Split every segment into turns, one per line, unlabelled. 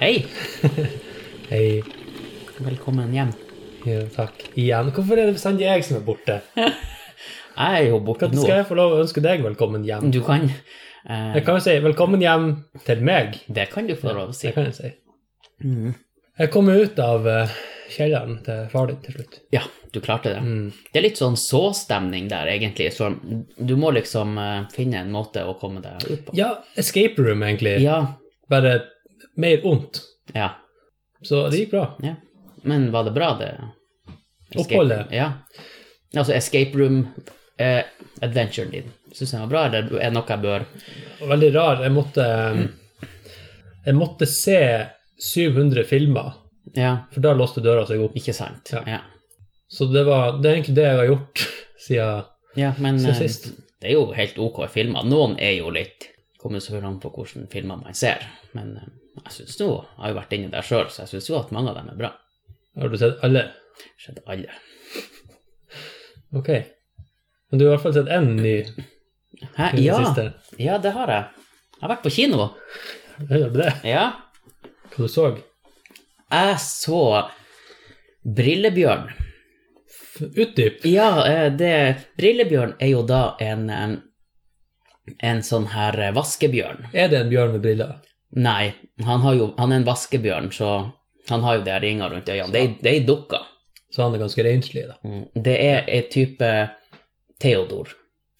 Hei,
Hei.
velkommen hjem.
Ja, takk. Igjen. Hvorfor er det bestandig jeg som er borte?
Jeg er jo borte
Når
nå.
skal jeg få lov å ønske deg velkommen hjem?
Du kan eh,
Jeg kan jo si 'velkommen hjem til meg'.
Det kan du få lov å si.
Det kan jeg si.
Mm.
Jeg kom ut av eh, kjelleren til far din til slutt.
Ja, du klarte det.
Mm.
Det er litt sånn så-stemning der, egentlig. Så du må liksom eh, finne en måte å komme deg ut på.
Ja, escape room, egentlig.
Ja.
Bare mer ondt.
ja.
Så det gikk bra.
Men var det bra, det?
Oppholdet.
Ja. Altså escape room eh, adventuren din. Syns du den var bra, eller er det noe jeg bør
Veldig rar. Jeg måtte, eh, jeg måtte se 700 filmer,
Ja,
for da låste døra seg opp.
ikke sant?
Ja.
Ja.
Så det, var, det er egentlig det jeg har gjort siden
Ja, men
Så
eh,
sist.
det er jo helt ok filmer. Noen er jo litt Kommer selvfølgelig an på hvilke filmer man ser. Men eh, jeg syns nå Jeg har jo vært inni der sjøl, så jeg syns jo at mange av dem er bra.
Har du sett alle?
Skjedde alle.
Ok. Men du har i hvert fall sett én ny i
Hæ?
det
Ja,
siste.
ja, det har jeg. Jeg har vært på kino.
Hører du det?
Ja.
Hva du så?
Jeg så Brillebjørn.
Utdyp.
Ja, eh, det Brillebjørn er jo da en eh, en sånn her eh, vaskebjørn.
Er det en bjørn med briller?
Nei, han, har jo, han er en vaskebjørn, så han har jo de her ringene rundt øynene. Det er- Det er ei dukke.
Så han er ganske renslig, da.
Mm. Det er en type Theodor.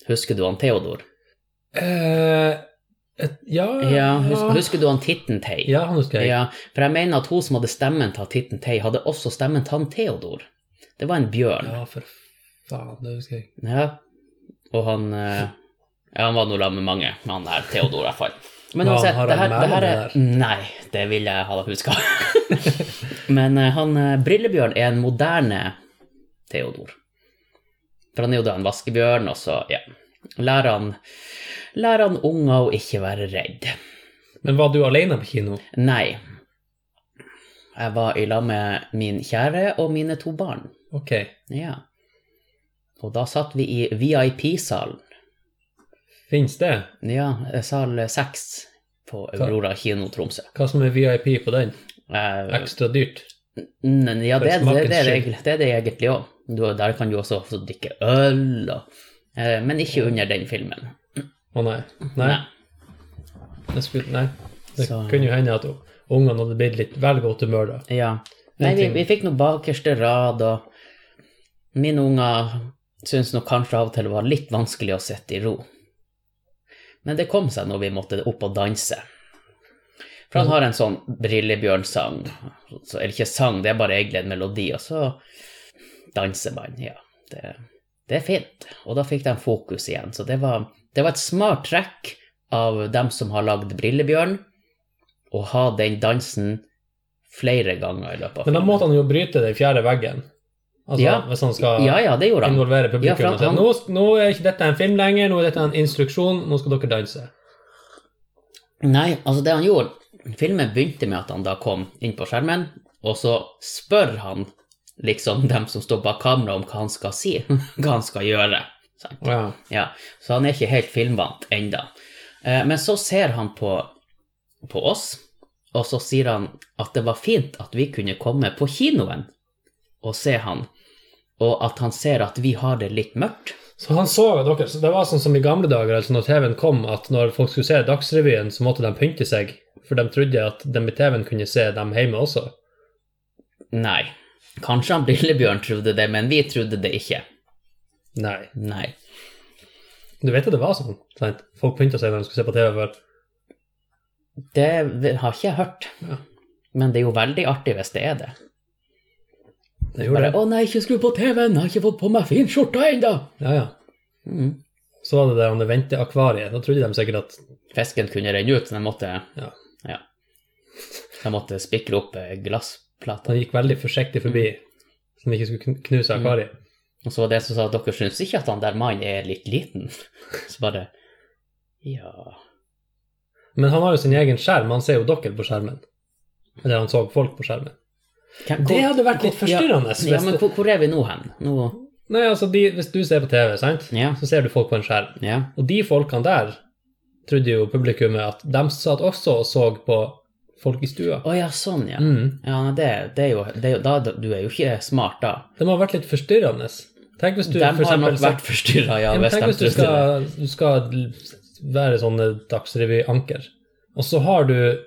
Husker du han Theodor?
Eh, et, ja
Ja, husker, husker du han Titten Tei?
Mm. Ja, han husker jeg.
Ja, for jeg mener at hun som hadde stemmen til Titten Tei, hadde også stemmen til han Theodor. Det var en bjørn.
Ja, for faen, det husker jeg.
Ja. Og han eh, Ja, han var nå sammen med mange, han der Theodor i hvert fall. Men
Ja,
uansett,
har
det
han
her, det her
mellom
er Nei, det vil jeg ha huska. Men eh, han eh, Brillebjørn er en moderne Theodor. For han er jo da en vaskebjørn, og så, ja Lærer han, lærer han unger å ikke være redd.
Men var du alene på kino?
Nei. Jeg var i lag med min kjære og mine to barn.
Ok.
Ja. Og da satt vi i VIP-salen.
Fins det?
Ja, sal 6 på Aurora kino Tromsø.
Hva som er VIP på den?
Eh,
Ekstra dyrt?
n- ja, det, det,
for
det, er
smakens
det,
skyld.
egentlig- det er det egentlig òg. Der kan du også få drikke øl, og, eh, men ikke under den filmen.
Å nei. Nei. Det, skulle, nei. det
Så-
kunne jo hende at ungene hadde blitt litt vel godt humør da.
Ja. Nei, vi,
ting-
vi fikk noe bakerste rad, og mine unger syntes nok kanskje av og til det var litt vanskelig å sitte i ro. Men det kom seg når vi måtte opp og danse. For han har en sånn Brillebjørn-sang. Så, eller ikke sang, det er bare egentlig en melodi, og så danser man. Ja, det, det er fint. Og da fikk de fokus igjen. Så det var, det var et smart trekk av dem som har lagd Brillebjørn, å ha den dansen flere ganger i løpet av
Men da måtte han jo bryte den fjerde veggen. Altså,
Ja.
Hvis han skal
Ja, ja, det gjorde han.
involvere
Ja, for han-
publikum. og si,
han-
nå, nå er ikke dette en film lenger, nå er dette en instruksjon, nå skal dere danse.
Nei, altså det han gjorde Filmen begynte med at han da kom inn på skjermen, og så spør han liksom dem som står bak kamera om hva han skal si, hva han skal gjøre. Sånn. Sant?
Å ja.
Ja, så han er ikke helt filmvant enda. Eh, Men så ser han på, på oss, og så sier han at det var fint at vi kunne komme på kinoen og se han, og at han ser at vi har det litt mørkt.
Så han så jo dere, så det var sånn som i gamle dager, altså når TV-en kom, at når folk skulle se Dagsrevyen, så måtte de pynte seg, for de trodde at de i TV-en kunne se dem hjemme også.
Nei, kanskje han Brillebjørn trodde det, men vi trodde det ikke.
Nei.
Nei.
Du vet at det var sånn? Sant? Folk pynta seg når de skulle se på TV før.
Det har ikke jeg hørt.
Ja.
Men det er jo veldig artig hvis det er det.
Det
Bare
gjorde det.
'Å nei, ikke skru på TV-en, jeg har ikke fått på meg finskjorta ennå'.
Ja, ja.
Mm.
Så var det det om det venteakvariet. Da trodde de sikkert at
Fisken kunne renne ut, så jeg måtte,
Ja.
Ja. Så Jeg måtte spikre opp eh, glassplater.
han gikk veldig forsiktig forbi, så han ikke skulle kn- knuse
Mm.
akvariet.
Og så var det som sa at dere syns ikke at han der mannen er litt liten. Så bare Ja
Men han har jo sin egen skjerm, han ser jo dere på skjermen. Eller han så folk på skjermen.
Hvem-
Det
hvor-
hadde vært litt
hvor-
forstyrrende.
Ja, ja, men hvor, hvor er vi nå hen? Nå
Nei, altså, de, Hvis du ser på TV, sant?
Ja.
så ser du folk på en skjerm.
Ja.
Og de folkene der trodde jo publikummet at de satt også og så på folk i stua.
Å ja, sånn, ja.
Mm.
Ja, nei, det, det er jo, det er jo da, Du er jo ikke smart da.
De har vært litt forstyrrende. Tenk hvis du
De
for
har
eksempel,
nok vært forstyrra, ja.
Ja, men
hvis
tenk
de
hvis du
trodde det.
skal, du skal være sånn Dagsrevy-anker, og så har du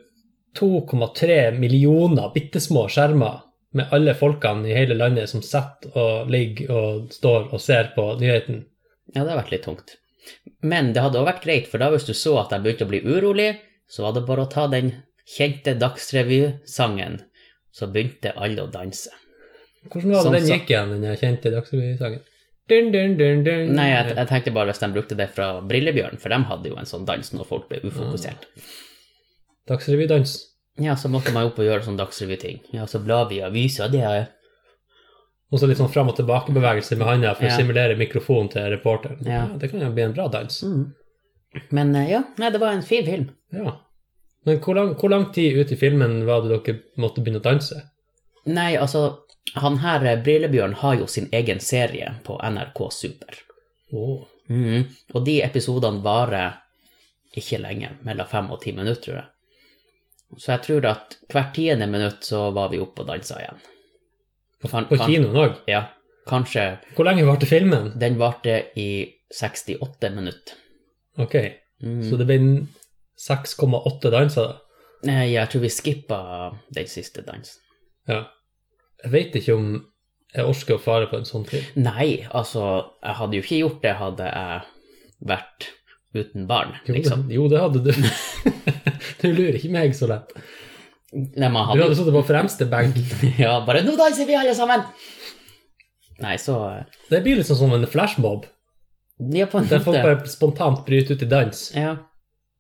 2,3 millioner bitte små skjermer med alle folkene i hele landet som sitter og ligger og står og ser på nyheten.
Ja, det har vært litt tungt. Men det hadde også vært greit, for da hvis du så at de begynte å bli urolig, så var det bare å ta den kjente Dagsrevy-sangen, så begynte alle å danse.
Hvordan var det
Sånn
den
sa-
gikk igjen, den jeg kjente Dagsrevy-sangen? Dun, dun, dun, dun.
Nei, jeg, jeg tenkte bare hvis de brukte det fra Brillebjørn, for de hadde jo en sånn dans når folk ble ufokusert.
Dagsrevydans.
Ja, så måtte man jo opp og gjøre sånn Dagsrevy-ting. Ja, så blar vi i avisa, det er
Og så litt sånn fram og tilbake-bevegelse med handa for
Ja.
å simulere mikrofonen til reporteren.
Ja.
Ja, det kan jo bli en bra dans.
mm. Men eh, ja, nei, det var en fin film.
Ja. Men hvor lang, hvor lang tid ut i filmen var det dere måtte begynne å danse?
Nei, altså, han her eh, Brillebjørn har jo sin egen serie på NRK Super.
Åh.
Mhm. Og de episodene varer ikke lenge, mellom fem og ti minutter, tror jeg. Så jeg tror at hvert tiende minutt så var vi oppe og dansa igjen.
På,
Kan-
på
kan-
kinoen òg?
Ja, kanskje
Hvor lenge varte filmen?
den varte i 68 minutter.
Ok,
Mhm.
så det ble en 6,8 danser, da?
Nei, Jeg tror vi skippa den siste dansen.
Ja. Jeg vet ikke om jeg orker å fare på en sånn film.
Nei, altså, jeg hadde jo ikke gjort det hadde jeg vært uten barn,
Jo,
liksom.
det, jo det hadde du. du lurer ikke meg så lett.
Nei, man
Du
hadde
hadde sittet på fremste benk.
Ja, bare 'nå danser vi alle sammen'! Nei, så
Det blir litt sånn som en flashmob,
Ja, på en
der folk
måte.
bare spontant bryter ut i dans.
Ja.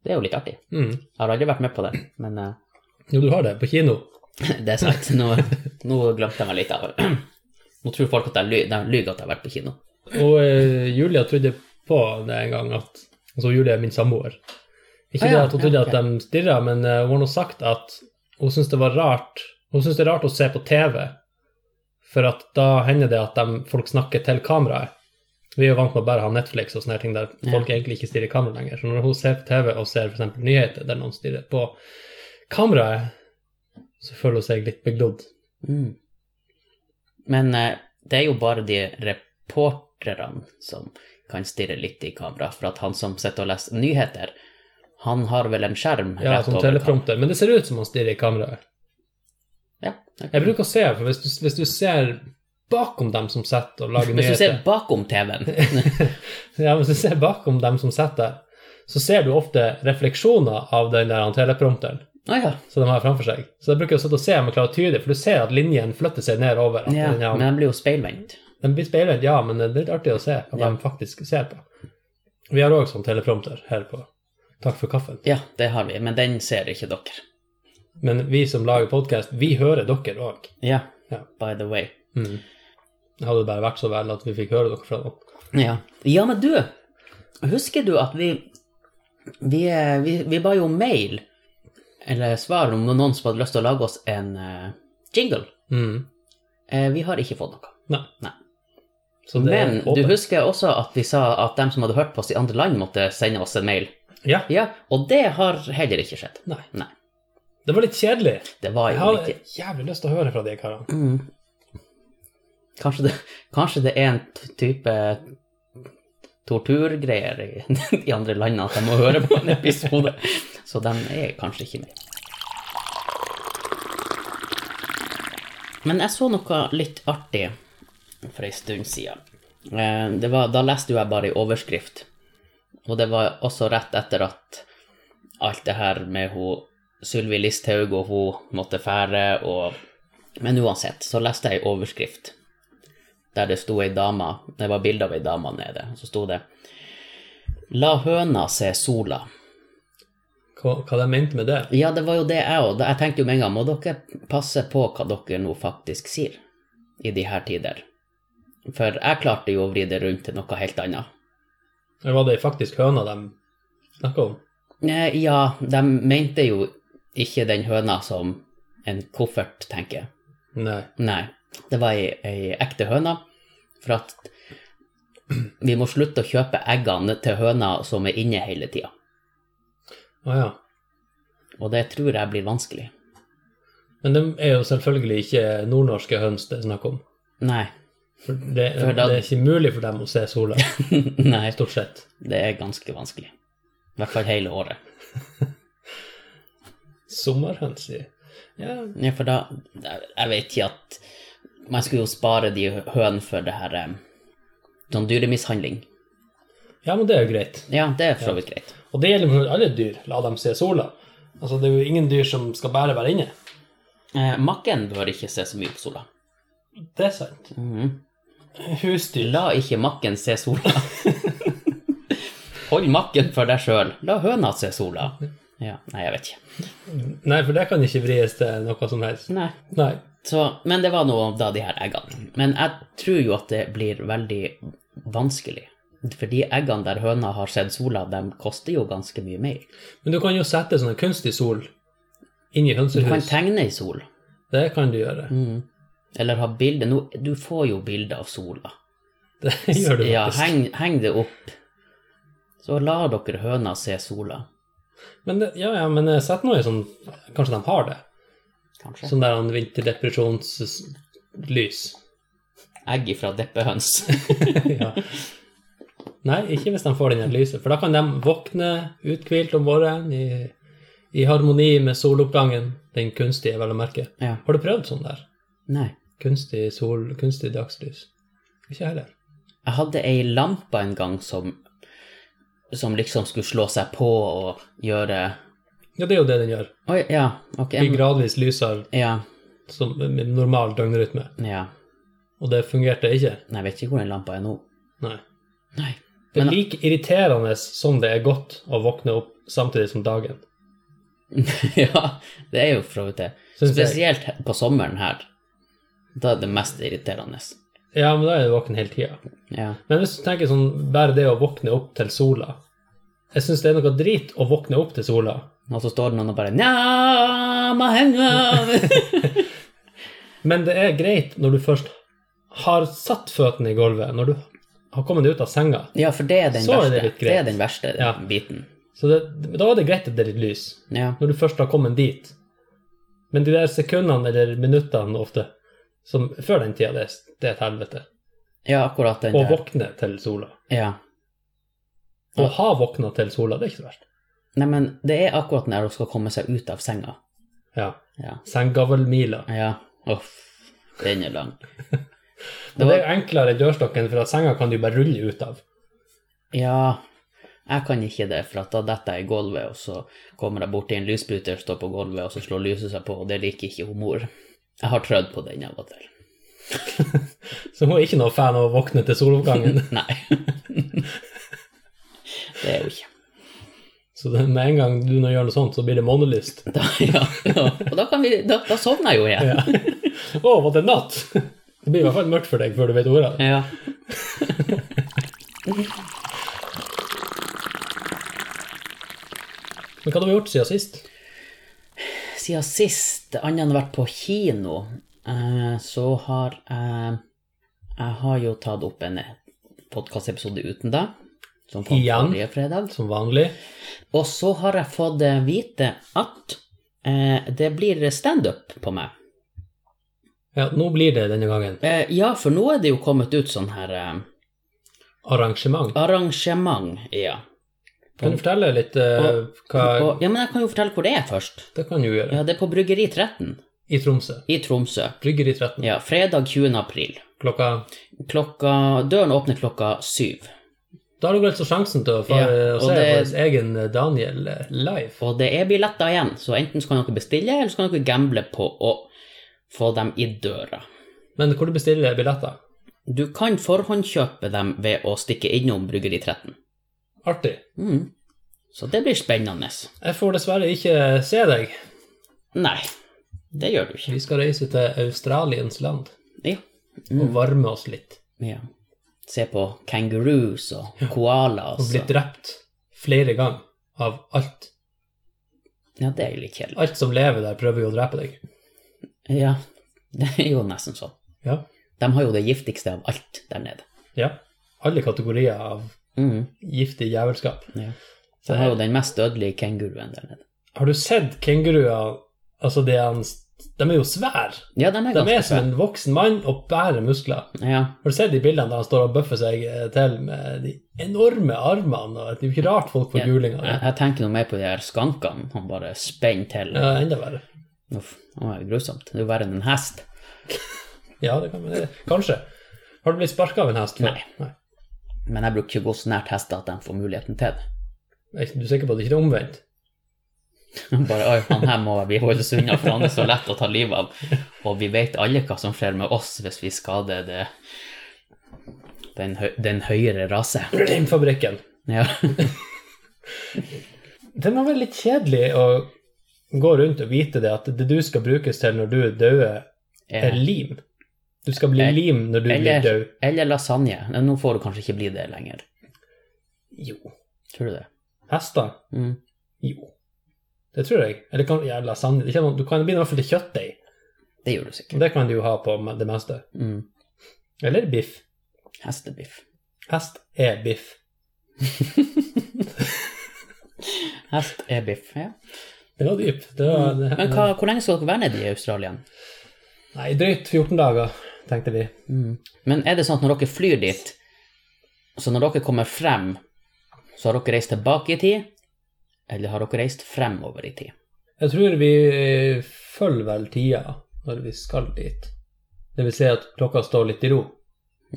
Det er jo litt artig.
Mm.
Jeg har aldri vært med på det, men eh,
Jo, du har det, på kino.
det er sant. Nå, nå glemte jeg meg litt av det. Nå tror folk at jeg ly- de lyver at jeg har vært på kino.
Og eh, Julia trodde på det en gang at Altså, Julia er min samboer. Ikke
Ah, ja,
det at hun trodde
ja,
at de stirra, men eh, hun har nå sagt at hun syns det var rart Hun syns det er rart å se på TV, for at da hender det at de, folk snakker til kameraet. Vi er jo vant med å bare ha Netflix og sånne her ting der folk egentlig ikke stirrer i kamera lenger. Så når hun ser på TV og ser f.eks. nyheter der noen stirrer på kameraet, så føler hun seg litt beglodd.
Mm. Men eh, det er jo bare de reporterne som kan stirre litt i kamera, for at han som sitter og leser nyheter, han har vel en skjerm
Ja, som teleprompter. Men det ser ut som han stirrer i kameraet.
Ja.
Jeg bruker å se, for hvis du, hvis du ser bakom dem som sitter og lager
Hvis du ser
nyheter
bakom TV-en
ja, Hvis du ser bakom dem som sitter der, så ser du ofte refleksjoner av den der teleprompteren
Å ja.
som de har framfor seg. Så jeg bruker å sitte og se om jeg klarer å tyde, for du ser at linjen flytter seg nedover. At
ja.
den, ja,
Men den blir jo speilvendt.
den blir speilvendt, ja, men det er litt artig å se hva
Ja.
de faktisk ser på. Vi har òg sånn teleprompter her på Takk for kaffen.
Ja, det har vi, men den ser ikke dere.
Men vi som lager podkast, vi hører dere òg.
Ja,
Ja.
by the way.
Mm. Det hadde bare vært så vel at vi fikk høre dere fra dem.
Ja. ja, men du, husker du at vi vi, eh, vi vi ba jo om mail, eller svar, om noen som hadde lyst til å lage oss en eh, jingle.
Mm.
Eh, vi har ikke fått noe.
Nei.
Nei.
Så det
Men
er åpent.
du husker også at vi sa at dem som hadde hørt på oss i andre land, måtte sende oss en mail.
Ja,
Ja, og det har heller ikke skjedd.
Nei.
Nei.
det var litt kjedelig.
Det var
Jeg
jo
har
litt
jævlig lyst til å høre fra de karene.
mm. kanskje, det, kanskje det er en t- type torturgreier i, i andre land at de må høre på en episode. Så den er kanskje ikke med. Men jeg så noe litt artig for ei stund siden. Eh, Det var, da leste jo jeg bare i overskrift. Og det var også rett etter at alt det her med hun Sylvi Listhaug og hun måtte fære og Men uansett, så leste jeg ei overskrift der det sto ei dame Det var bilde av ei dame nede, og så sto det La høna se sola.
Hva, hva de mente med det?
Ja, det var jo det jeg òg. Jeg tenkte jo med en gang må dere passe på hva dere nå faktisk sier i de her tider. For jeg klarte jo å vri det rundt til noe helt annet.
Eller var det faktisk høna de snakka om?
Eh, Ja, de mente jo ikke den høna som en koffert, tenker jeg.
Nei.
Nei, det var ei, ei ekte høne. For at vi må slutte å kjøpe eggene til høna som er inne hele tida.
Å ja.
Og det tror jeg blir vanskelig.
Men de er jo selvfølgelig ikke nordnorske høns det er snakk om.
Nei.
For det,
For da-
det er ikke mulig for dem å se sola,
Nei,
stort sett.
det er ganske vanskelig. I hvert fall hele året.
Sommerhøns, sier jeg. Ja,
Ja, for da Jeg jeg vet ikke at Man skulle jo spare de hønene for det her eh, Sånn dyremishandling.
ja, men det er jo greit.
Ja, det er for så vidt greit.
Og det gjelder for alle dyr. La dem se sola. Altså, det er jo ingen dyr som skal bare være inne.
Eh, makken bør ikke se så mye på sola.
Det er sant.
Mhm.
Husdyr.
La ikke makken se sola. Hold makken for deg sjøl. La høna se sola. Ja, nei, jeg vet ikke.
Nei, for det kan ikke vries til noe som helst.
Nei.
Nei.
Så, men det var nå da de her eggene. Men jeg tror jo at det blir veldig vanskelig. For de eggene der høna har sett sola, de koster jo ganske mye mer.
Men du kan jo sette sånn kunstig sol inn i
Du kan
hønsehus.
tegne i sol.
Det kan du gjøre.
Mm. Eller ha bilde. Nå, du får jo bilde av sola.
Det gjør du
Ja,
faktisk.
heng, heng det opp. Så lar dere høna se sola,
Men, det- ja, ja, men eh, sett noe i sånn Kanskje de har det.
kanskje.
Sånn der en vinterdepresjonslys.
Egg ifra deppehøns.
ja. Nei, ikke hvis de får den her lyset, for da kan de våkne uthvilt om morgenen i, i harmoni med soloppgangen, den kunstige, vel å merke.
ja.
Har du prøvd sånn der?
Nei.
Kunstig sol, kunstig dagslys? Ikke heller.
Jeg hadde ei lampe en gang som, som liksom skulle slå seg på og gjøre
Ja, det er jo det den gjør.
Oi, ja, ok.
Blir gradvis lysere
Ja,
som med normal døgnrytme.
ja.
Og det fungerte ikke.
Nei, Jeg vet ikke hvor den lampa er nå.
Nei.
Nei.
Det er
Men-
like irriterende som det er godt å våkne opp samtidig som dagen.
ja, det er jo for så vidt det.
Synes jeg.
Spesielt på sommeren her. Da er det mest irriterende.
Ja, men da er du våken hele tida.
Ja.
Men hvis du tenker sånn, bare det å våkne opp til sola Jeg syns det er noe drit å våkne opp til sola.
Og så står det noen og bare Nja, ma henga.
Men det er greit når du først har satt føttene i gulvet, når du har kommet deg ut av senga.
Ja, for det er den
Så er
verste.
det
Det,
litt greit.
er den verste
Ja.
biten.
Så det, da er det greit at det er litt lys,
Ja.
når du først har kommet dit. Men de der sekundene eller minuttene ofte som før den tida, det, er- det er et helvete.
ja, akkurat den
Å
der.
våkne til sola.
Ja.
Å ha våkna til sola, det er ikke så verst.
Nei, men det er akkurat når hun skal komme seg ut av senga.
Ja.
Ja.
Senggavlmila.
Ja. Uff. Den er lang.
Men det er jo enklere enn dørstokken, for at senga kan du bare rulle ut av.
Ja, jeg kan ikke det, for at da detter jeg i gulvet, og så kommer jeg borti en lysbryter, står på gulvet, og så slår lyset seg på, og det liker ikke hun mor. Jeg har trødd på den av og til.
Så hun er ikke noe fan av å våkne til soloppgangen.
Nei. det er jo ikke
Så det, med en gang du nå gjør noe sånt, så blir det månelyst.
da, ja, ja. Og da, kan vi, da, da sovner jeg jo igjen.
Ja. Å, var det natt? Det blir i hvert fall mørkt for deg før du vet ordet av det.
Ja.
Men hva har vi gjort siden sist?
Siden sist, annet enn vært på kino, eh, så har jeg Jeg har jo tatt opp en podkastepisode uten deg, som kom
Igjen?
forrige fredag.
Som vanlig.
Og så har jeg fått eh, vite at eh, det blir standup på meg.
Ja, nå blir det denne gangen
Eh, ja, for nå er det jo kommet ut sånn her eh,
arrangement.
arrangement, ja.
Kan du fortelle litt eh, hva
Og, ja, men jeg kan jo fortelle hvor det er først.
Det kan du gjøre.
Ja, Det er på Bryggeri 13
I Tromsø.
i Tromsø.
Bryggeri 13.
Ja, fredag 20. april.
Klokka
Klokka, døren åpner klokka syv.
Da har du altså sjansen til å få
Ja,
eh, å
og
se
det-
vår egen Daniel eh, live.
Og det er billetter igjen, så enten så kan dere bestille, eller så kan dere gamble på å få dem i døra.
Men hvor du bestiller billetter.
Du kan forhåndkjøpe dem ved å stikke innom Bryggeri 13.
Artig.
Mm. Så det blir spennende.
Jeg får dessverre ikke se deg.
Nei, det gjør du ikke.
Vi skal reise til Australiens land
Ja.
og
Mm.
varme oss litt.
ja. Se på kangaroos og koalas.
Og blitt
og-
drept flere ganger av alt.
Ja, det er jo litt kjedelig.
Alt som lever der, prøver jo å drepe deg.
Ja, det er jo nesten sånn.
Ja.
De har jo det giftigste av alt der nede.
ja. Alle kategorier av
Mm.
giftig jævelskap.
Ja. De har jo den mest dødelige kenguruen der nede.
Har du sett kenguruer, altså de han s- De er jo svære.
Ja, de er
De
ganske
er som en voksen mann og bærer muskler.
Ja.
Har du sett de bildene der han står og bøffer seg eh, til med de enorme armene? og Det er jo ikke rart folk får
Ja.
gulinger.
Jeg,
Ja.
jeg tenker noe mer på de her skankene. Han bare spenner til.
enda verre.
Uff, det var jo grusomt. Det er jo verre enn en hest.
Ja, det kan man Kanskje. Har du blitt sparka av en hest? før?
Nei. Men jeg bruker ikke å gå så nært hester at de får muligheten til det.
Er ikke- Du er sikker på at det ikke er omvendt?
Bare oi, han her må vi holdes unna, for han er så lett å ta livet av. Og vi vet alle hva som skjer med oss hvis vi skader det, den, hø den høyere rase.
Reinfabrikken.
Ja.
Det må være litt kjedelig å gå rundt og vite det at det du skal brukes til når du er død, er
Eh,
lim. Du skal bli
Eh,
lim når du blir
Eller,
død.
eller lasagne. Nå får du kanskje ikke bli det lenger.
Jo.
Tror du det?
Hester?
Mm.
Jo. Det tror jeg. Eller kan, ja, lasagne. Det er ikke noe- Du kan bli i hvert fall til kjøttdeig.
Det gjør du sikkert.
Og Det kan du jo ha på me- det meste.
Mm.
Eller biff.
Hestebiff.
Hest er biff.
Hest er biff, ja.
Det var dypt. Det var, det,
Mm. Men hva, hvor lenge skal dere være nede i Australia?
Nei, drøyt 14 dager, tenkte vi.
Mm. Men er det sånn at når dere flyr dit, så når dere kommer frem, så har dere reist tilbake i tid, eller har dere reist fremover i tid?
Jeg tror vi eh, følger vel tida når vi skal dit. Det vil si at klokka står litt i ro.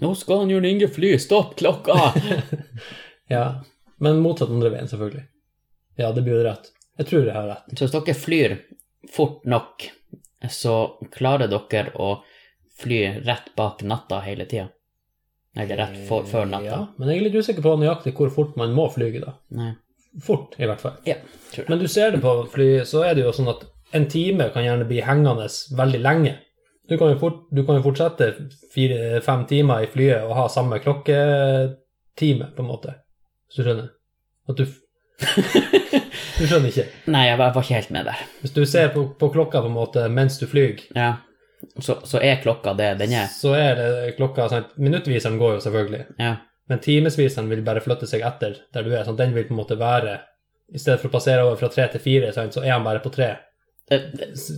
Nå skal han Jørn Inge fly, stopp klokka!
Ja, men motsatt andre veien, selvfølgelig. Ja, det blir jo rett. Jeg tror jeg har rett.
så hvis dere flyr fort nok, så klarer dere å fly rett bak natta hele tida. Eller rett for, før
Ja,
natta.
men jeg er litt usikker på nøyaktig hvor fort man må flyge, da.
Nei.
Fort, i hvert fall.
Ja, tror jeg.
Men du ser det på flyet, så er det jo sånn at en time kan gjerne bli hengende veldig lenge. Du kan jo, fort, du kan jo fortsette fire-fem timer i flyet og ha samme klokketime, på en måte. Hvis du skjønner? At du f- Du skjønner ikke.
Nei, jeg var, jeg var ikke helt med der.
Hvis du ser på, på klokka på en måte mens du flyr,
Ja. Så, så er klokka det den er?
så er det klokka sant? Minuttviseren går jo selvfølgelig,
Ja.
men timesviseren vil bare flytte seg etter der du er. sånn, Den vil på en måte være I stedet for å passere over fra tre til fire, sant, så er han bare på tre.
Det- det-
S-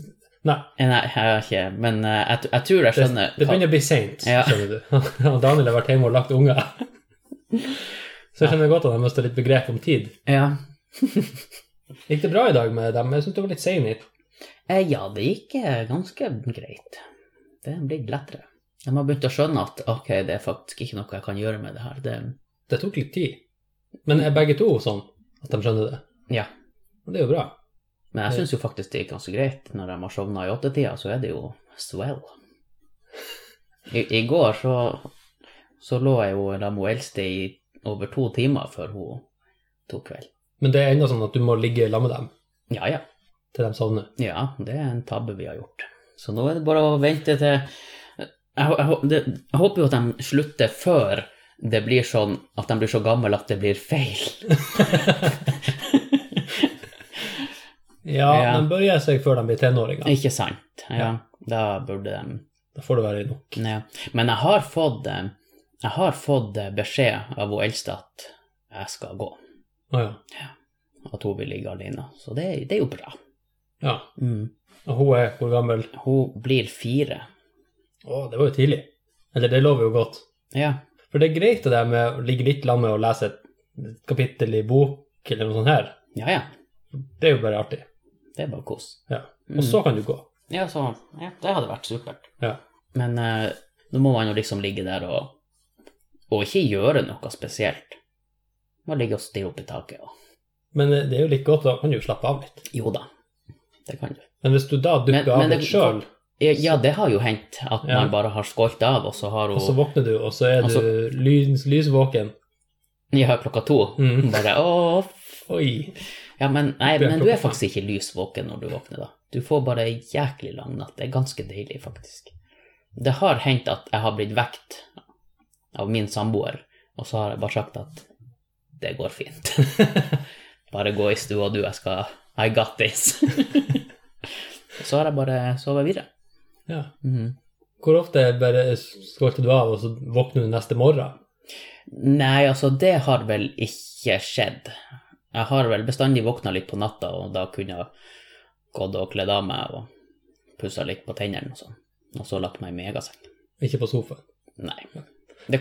Nei,
Eh, Nei, jeg har ikke, men eh, jeg, t- jeg tror jeg
det,
skjønner
det
hva-
begynner å bli seint,
Ja.
skjønner du. Og Daniel har vært hjemme og lagt unger. Så jeg skjønner godt at han mister litt begrep om tid.
Ja.
Gikk det bra i dag med dem? Jeg syns du var litt sein hit.
Eh, ja, det gikk eh, ganske greit. Det er blitt lettere. De har begynt å skjønne at ok, det er faktisk ikke noe jeg kan gjøre med det her. Det,
Det tok litt tid. Men er begge to sånn at de skjønner det?
Ja.
Og det er jo bra.
men jeg syns jo faktisk det gikk ganske greit. Når de har sovna i åttetida, så er det jo swell. I, i går så, så lå jeg jo sammen med eldste i over to timer før hun tok kveld.
Men det er ennå sånn at du må ligge i lag med dem
Ja, ja.
til de sovner.
Ja, det er en tabbe vi har gjort. Så nå er det bare å vente til jeg, jeg, hå- det, jeg håper jo at de slutter før det blir sånn at de blir så gamle at det blir feil.
Ja,
Ja.
de bøyer seg før de blir tenåringer.
Ikke sant? Ja, da burde de
Da får det være nok.
ja. Men jeg har fått eh, jeg har fått eh, beskjed av hun eldste at jeg skal gå.
Å ja.
At hun vil ligge alene. Så det, det er jo bra.
ja.
Mm.
Og hun er hvor gammel?
Hun blir fire.
Å, det var jo tidlig. Eller det lover jo godt.
Ja.
For det er greit det der med å ligge litt sammen med å lese et kapittel i bok eller noe sånt her.
Ja, ja.
Det er jo bare artig.
Det er bare kos.
Ja.
Mm.
Og så kan du gå.
Ja, så, ja, det hadde vært supert.
Ja.
Men eh, nå må man jo liksom ligge der og, og ikke gjøre noe spesielt. Man ligger og stirrer opp i taket. Og,
Men eh, det er jo litt godt, da kan du jo slappe av litt.
jo da, det kan du.
Men hvis du da dukker
Men- men
av
det-
litt sjøl,
Ja, Ja, det har jo hendt at
Ja.
man bare har skålt av, og så har
og så
hun
våkner du, og så er
Og
du lys, lysvåken
Ja, klokka to.
Mm.
Bare å f-
Oi.
Ja, men, nei,
Det er
men du er
klokka
faktisk ikke lysvåken når du våkner, da. Du får bare ei jæklig lang natt. Det er ganske deilig, faktisk. Det har hendt at jeg har blitt vekt av min samboer, og så har jeg bare sagt at det går fint. bare gå i stua, du, jeg skal I got this. så har jeg bare sovet videre.
Ja.
Mhm.
Hvor ofte bare skålte du av, og så våkner du neste morgen?
Nei, altså, det har vel ikke skjedd. Jeg har vel bestandig våkna litt på natta, og da kunne jeg gått og kledd av meg og pussa litt på tennene og sånn, og så lagt meg i megaseng.
Ikke på sofaen.
Nei. Det,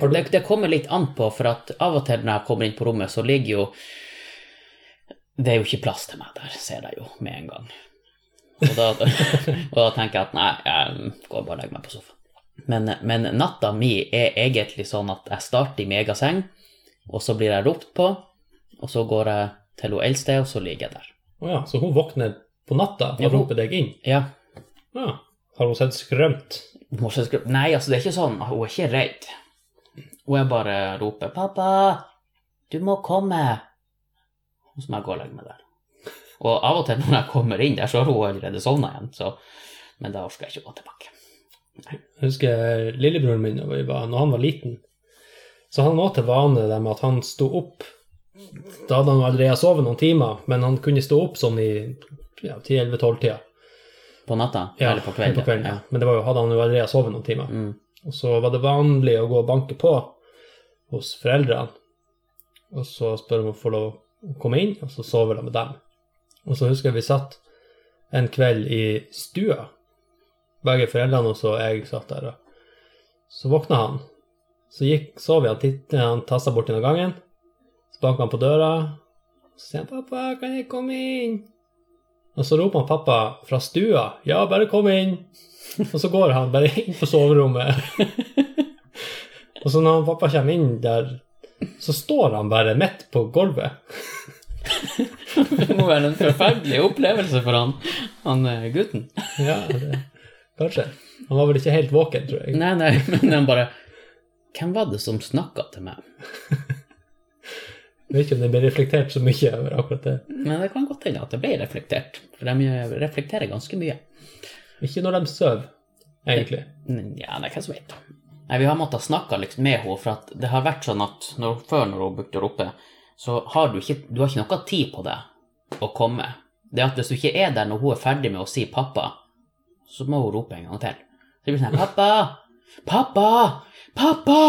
det, det kommer litt an på, for at av og til når jeg kommer inn på rommet, så ligger jo Det er jo ikke plass til meg der, ser jeg jo med en gang. Og da, og da tenker jeg at nei, jeg går bare og legger meg på sofaen. Men, men natta mi er egentlig sånn at jeg starter i megaseng, og så blir jeg ropt på, og så går jeg til hun eldste, og så ligger jeg der.
Å ja, så hun våkner på natta
Ja, hun-
og roper deg inn?
Ja.
Ja. Har hun sett skrømt?
Morsens gruppe Nei, altså, det er ikke sånn. Hun er ikke redd. Hun er bare roper 'Pappa, du må komme!' Og så må jeg gå og legge meg der. Og av og til når jeg kommer inn der, så har hun allerede sovna igjen, så Men da orker jeg ikke å gå tilbake.
Jeg husker lillebroren min når vi var- når han var liten. Så han var til vane det med at han sto opp Da hadde han allerede sovet noen timer, men han kunne stå opp sånn i ja, 10-11-12-tida.
På natta?
Ja,
eller på kvelden? Ja.
Men det var jo, hadde han jo allerede sovet noen timer.
Mm.
Og så var det vanlig å gå og banke på hos foreldrene. Og så spør de om å få lov å komme inn, og så sover de med dem. Og så husker jeg vi satt en kveld i stua. Begge foreldrene og så jeg satt der. Og så våkna han. Så gikk, så vi han, titt- han tassa bort gjennom gangen. Så banka han på døra. Så sier han 'Pappa, kan jeg komme inn?' Og så roper han pappa fra stua 'Ja, bare kom inn'. Og så går han bare inn på soverommet. Og så når han pappa kommer inn der, så står han bare midt på gulvet.
Det må være en forferdelig opplevelse for han, han eh, gutten.
Ja, det, kanskje. Han var vel ikke helt våken, tror jeg.
Nei, nei, men han bare Hvem var det som snakka til meg?
Jeg vet ikke om det ble reflektert så mye over akkurat det.
Men det kan godt hende at det ble reflektert, for de eh, reflekterer ganske mye.
Ikke når de sover, egentlig.
Ja, det er hvem som vet. Nei, vi har måttet snakke liksom med henne, for at det har vært sånn at når, før når hun brukte å rope, så har du ikke, du har ikke noe tid på deg å komme. Det er at hvis du ikke er der når hun er ferdig med å si pappa, så må hun rope en gang til. Så det blir sånn her, pappa, pappa, pappa!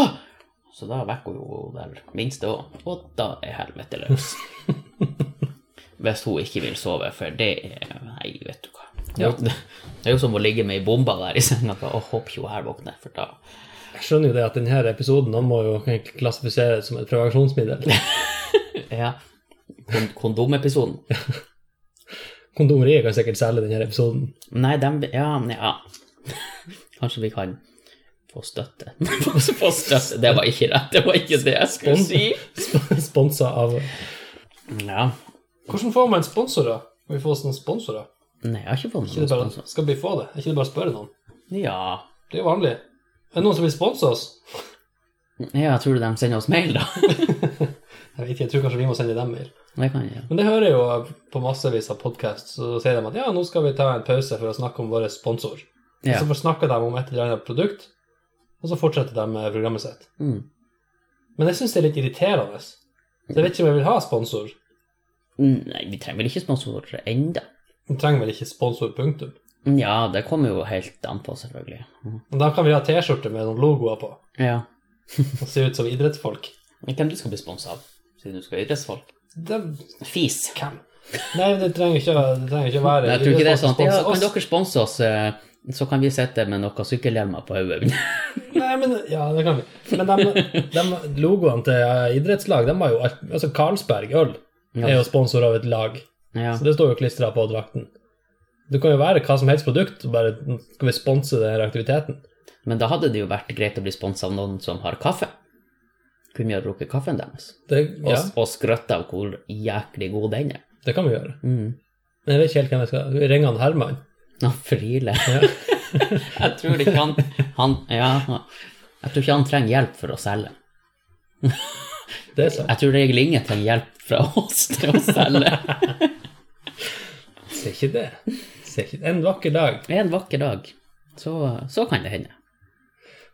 Så da vekker hun jo der minste også, og da er helvete løs. Hvis hun ikke vil sove, for det er Nei, vet du hva. Det er jo- det er jo som å ligge med ei bombe der i senga og bare, «Å, håper ikke hun her våkner, for da
Jeg skjønner jo det at denne episoden han må jo egentlig klassifiseres som et prevensjonsmiddel.
Ja. Kon- Kondomepisoden.
Kondomeriet kan sikkert selge denne episoden.
Nei, dem Ja, ja. Kanskje vi kan få støtte. få støtte. Det var ikke rett. Det var ikke det jeg skulle si.
Sponsa av
Ja.
Hvordan får man sponsorer? Må vi få oss noen sponsorer?
Nei, jeg har ikke fått
Ikke
noen
det bare,
sponsor.
skal vi få det? Er ikke det bare å spørre noen?
Ja.
Det er jo vanlig. Er det noen som vil sponse oss?
ja, jeg tror de sender oss mail, da.
Jeg vet ikke, jeg tror kanskje vi må sende dem mail.
Det kan jeg.
Men det hører jeg jo på massevis av podkast, så sier de at ja, nå skal vi ta en pause for å snakke om vår sponsor. Og
Ja.
så får- snakker de om et eller annet produkt, og så fortsetter de med programmet sitt.
Mm.
Men jeg syns det er litt irriterende. Så jeg vet ikke om jeg vil ha sponsor.
Mm, Nei, vi trenger vel ikke sponsorer enda.
Vi trenger vel ikke sponsor, punktum.
Ja, det kommer jo helt an på, selvfølgelig. Mm.
Men da kan vi ha T-skjorte med noen logoer på,
Ja.
og se ut som idrettsfolk.
Men Hvem du skal bli sponsa av, siden du skal være idrettsfolk?
Det,
Fis.
hvem? Nei, det trenger ikke, å- det trenger ikke å være
Nei, jeg tror ikke det er sånn
idrettsfolk
at ja, kan
som sponser oss.
dere sponse oss, eh, så kan vi sitte med noen sykkelhjelmer på hodet.
Nei, men Ja, det kan vi. Men de, de logoene til eh, idrettslag, de var jo alt Altså, Carlsberg øl er jo sponsor av et lag,
Ja.
så det står jo klistra på drakten. Det kan jo være hva som helst produkt, og bare "Nå skal vi sponse denne aktiviteten?
Men da hadde det jo vært greit å bli sponsa av noen som har kaffe. Kunne vi ha drukket kaffen deres?
Det,
Og,
ja,
og skrøtt av hvor jæklig god den er.
det kan vi gjøre.
Mm.
Men jeg vet ikke helt hvem jeg skal Ringe han Herman?
Han friler.
Ja.
Jeg tror ikke han, han ja, Jeg tror ikke han trenger hjelp for å selge.
Det er sant.
Jeg tror egentlig ingen trenger hjelp fra oss til å selge.
Ser ikke det. Ser ikke En vakker dag.
En vakker dag, så, så kan det hende.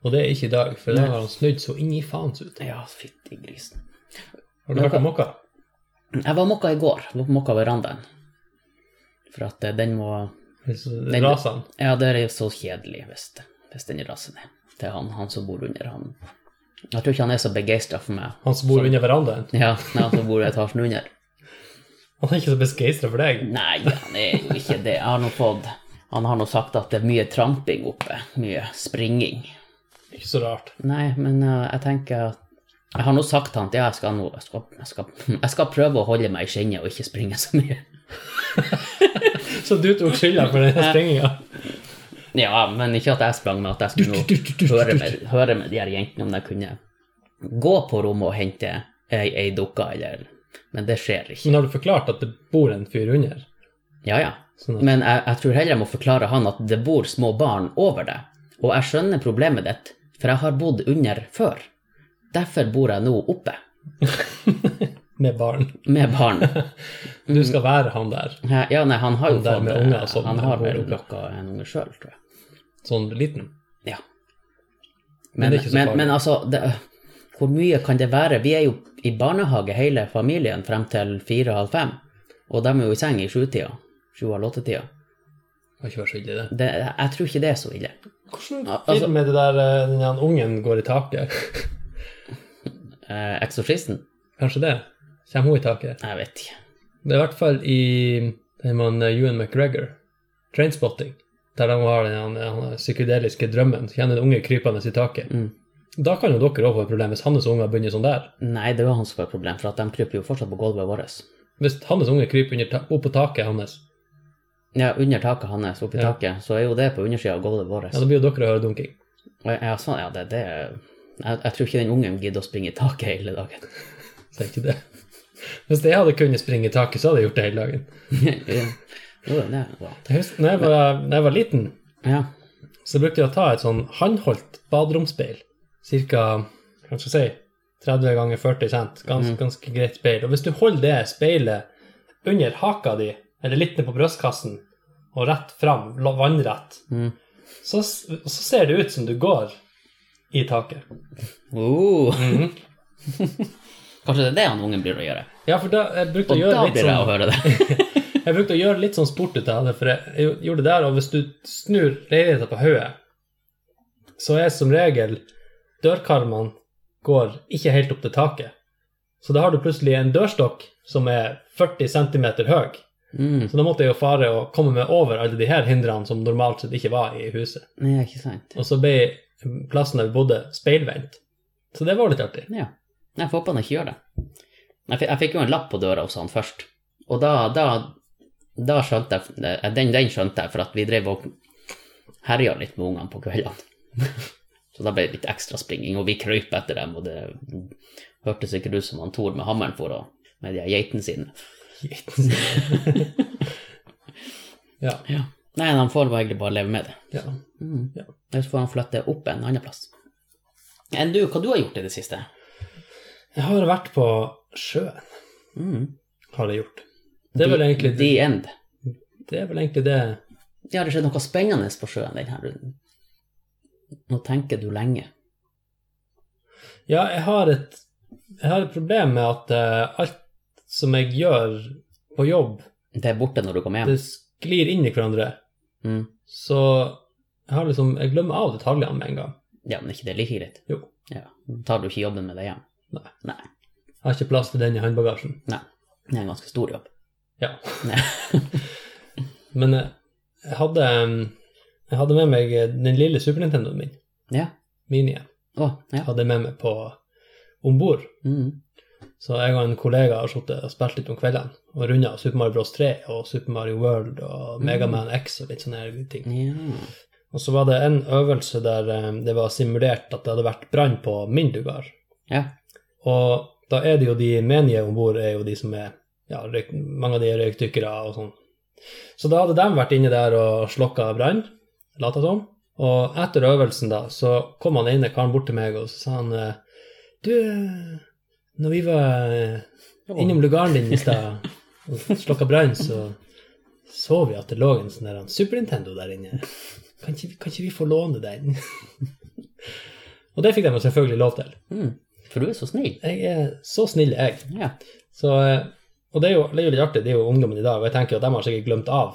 Og det er ikke i dag, for da har han snudd så inn i faens ut.
Ja, fytti grisen.
Har du hørt om Mokka?
Jeg var mokka i går. Jeg var på mokka verandaen. For at eh, den må
Raser han?
Ja, det er så kjedelig hvis, hvis den raser ned. Det er han, han som bor under han. Jeg tror ikke han er så begeistra for meg.
Han som bor under verandaen?
Ja, nei, han som bor etasjen under.
Han er ikke så begeistra for deg?
Nei, han er jo ikke det. Jeg har nå fått Han har nå sagt at det er mye tramping oppe. Mye springing.
Ikke så rart.
Nei, men eh, jeg tenker at Jeg har nå sagt til han at ja, jeg skal, nå, jeg, skal, jeg, skal, jeg skal prøve å holde meg i skinnet og ikke springe så mye.
Så du tok skylda for den springinga?
Ja, men ikke at jeg sprang, men at jeg skulle nå høre med, høre med de her jentene om de kunne gå på rommet og hente ei, ei dukke, eller Men det skjer ikke.
Men har du forklart at det bor en fyr under?
Ja, ja.
Sånn at,
Men jeg, jeg tror heller jeg må forklare han at det bor små barn over det. Og jeg skjønner problemet ditt, for jeg har bodd under før. Derfor bor jeg nå oppe,
med barn.
med barn.
Du
Mm.
skal være han der.
Ja, nei, han har jo
Han der
fått eh,
med unger og sånn,
Han har
med
mer
hodet.
klokka enn unge sjøl, tror jeg.
Sånn liten.
Ja.
Men
Men,
det er
men,
ikke så
men,
farlig.
altså, det, hvor mye kan det være? Vi er jo i barnehage hele familien frem til fire-halv fem, og de er jo i seng i sjutida. Sju-halv åtte-tida.
Kan ikke være så ille, det.
Det- Jeg tror ikke det er så ille.
Hvordan
Altså-
film er det der eh, den her ungen går i taket?
Eh, Eksorsisten?
Kanskje det? Kommer hun i taket?
Jeg vet ikke.
Det er i hvert fall i den man eh, Ewan McGregor, Trainspotting, der de har den eh, han psykedeliske drømmen. Så kjenner den unge krypende i taket.
Mm.
Da kan jo dere òg få et problem hvis hans unger begynner sånn der.
Nei, det var han som var problem, for at de kryper jo fortsatt på gulvet vårt.
Hvis hans unge kryper under ta opp på taket hans,
Ja, under taket hans, oppi
Ja.
taket, så er jo det på undersida av gulvet vårt.
ja, da blir jo dere å høre dunking.
Ja, ja, sånn, ja, det, det er- jeg, jeg tror ikke den ungen gidder å springe i taket hele dagen.
Så er ikke det. Hvis jeg hadde kunnet springe i taket, så hadde jeg gjort det hele dagen.
Ja. jo, det er bra.
Jeg husker, når, jeg var, når jeg var liten,
Ja.
så brukte jeg å ta et sånn håndholdt baderomsspeil. Cirka, hva skal jeg si, 30 ganger 40 cent. Gans,
Mm.
Ganske greit speil. Og hvis du holder det speilet under haka di, eller litt ned på brystkassen, og rett fram, la- vannrett,
Mm.
så, s- så ser det ut som du går i taket.
Oh.
Mhm.
Kanskje det er det han ungen blir å gjøre.
Ja, for da, jeg brukte å
Og
gjøre
da
litt
blir jeg å
sånn
høre det.
Jeg brukte å gjøre litt sånn sport ut av det, for jeg jeg gjorde det der, og hvis du snur leiligheten på hodet, så er som regel dørkarmene går ikke helt opp til taket. Så da har du plutselig en dørstokk som er 40 cm høy.
Mm.
Så da måtte jeg jo fare og komme meg over alle de her hindrene som normalt sett ikke var i huset.
Nei, ikke sant.
Og så ble plassen der vi bodde, speilvendt. Så det var litt artig.
Ja. Nei, får håpe han ikke gjør det. Jeg fikk, jeg fikk jo en lapp på døra hos han først, og da, da, da skjønte jeg eh, den, den skjønte jeg, for at vi drev og herja litt med ungene på kveldene. Så da ble det litt ekstra springing, og vi krøyp etter dem, og det hørtes sikkert ut som han Tor med hammeren for å med de her geitene sine.
ja.
Ja. Nei, han får bare egentlig bare leve med det.
ja.
Mm.
Ja.
Ellers får han flytte opp en annen plass. Enn du, hva du har gjort i det siste?
Jeg har vært på sjøen.
Mm.
har jeg gjort. Det er vel egentlig
The
det,
end.
er vel egentlig det.
Ja, det skjedde noe spennende på sjøen denne runden. Nå tenker du lenge.
Ja, jeg har et, jeg har et problem med at eh, alt som jeg gjør på jobb,
Det er borte når du kommer hjem.
det sklir inn i hverandre.
Mm.
Så jeg har liksom, jeg glemmer av detaljene med en gang.
Ja, men ikke det er like greit?
Jo.
Ja. Tar du ikke jobben med deg hjem?
Nei.
Nei.
Jeg har ikke plass til den i håndbagasjen.
Det er en ganske stor jobb.
Ja.
Nei.
Men eh, jeg hadde, eh, jeg hadde med meg eh, den lille Super Nintendoen min,
Ja.
minien,
Å, ja.
hadde jeg med meg på ombord.
Mm.
Så jeg og en kollega har sittet og spilt litt om kveldene og runda Super Mario Bros 3 og Super Mario World og
Mm.
Megaman X og litt sånne her ting.
ja.
Og så var det en øvelse der eh, det var simulert at det hadde vært brann på min lugar.
Ja.
Og da er det jo de menige om bord er jo de som er ja, røyk, mange av de er røykdykkere og sånn. Så da hadde de vært inne der og slokka brann, lata som. Og etter øvelsen, da, så kom han ene karen bort til meg og så sa han eh, Du, eh, når vi var eh, innom lugaren din i stad og slokka brann, så så vi at det lå en sånn der Super Nintendo der inne. Kan ikke, vi- kan ikke vi få låne den? og det fikk de jo selvfølgelig lov til.
Mm. For du er så snill.
Jeg er så snill, jeg.
Ja.
Så, eh, og det er, jo, det er jo litt artig, det er jo ungdommen i dag, og jeg tenker jo at de har sikkert glemt av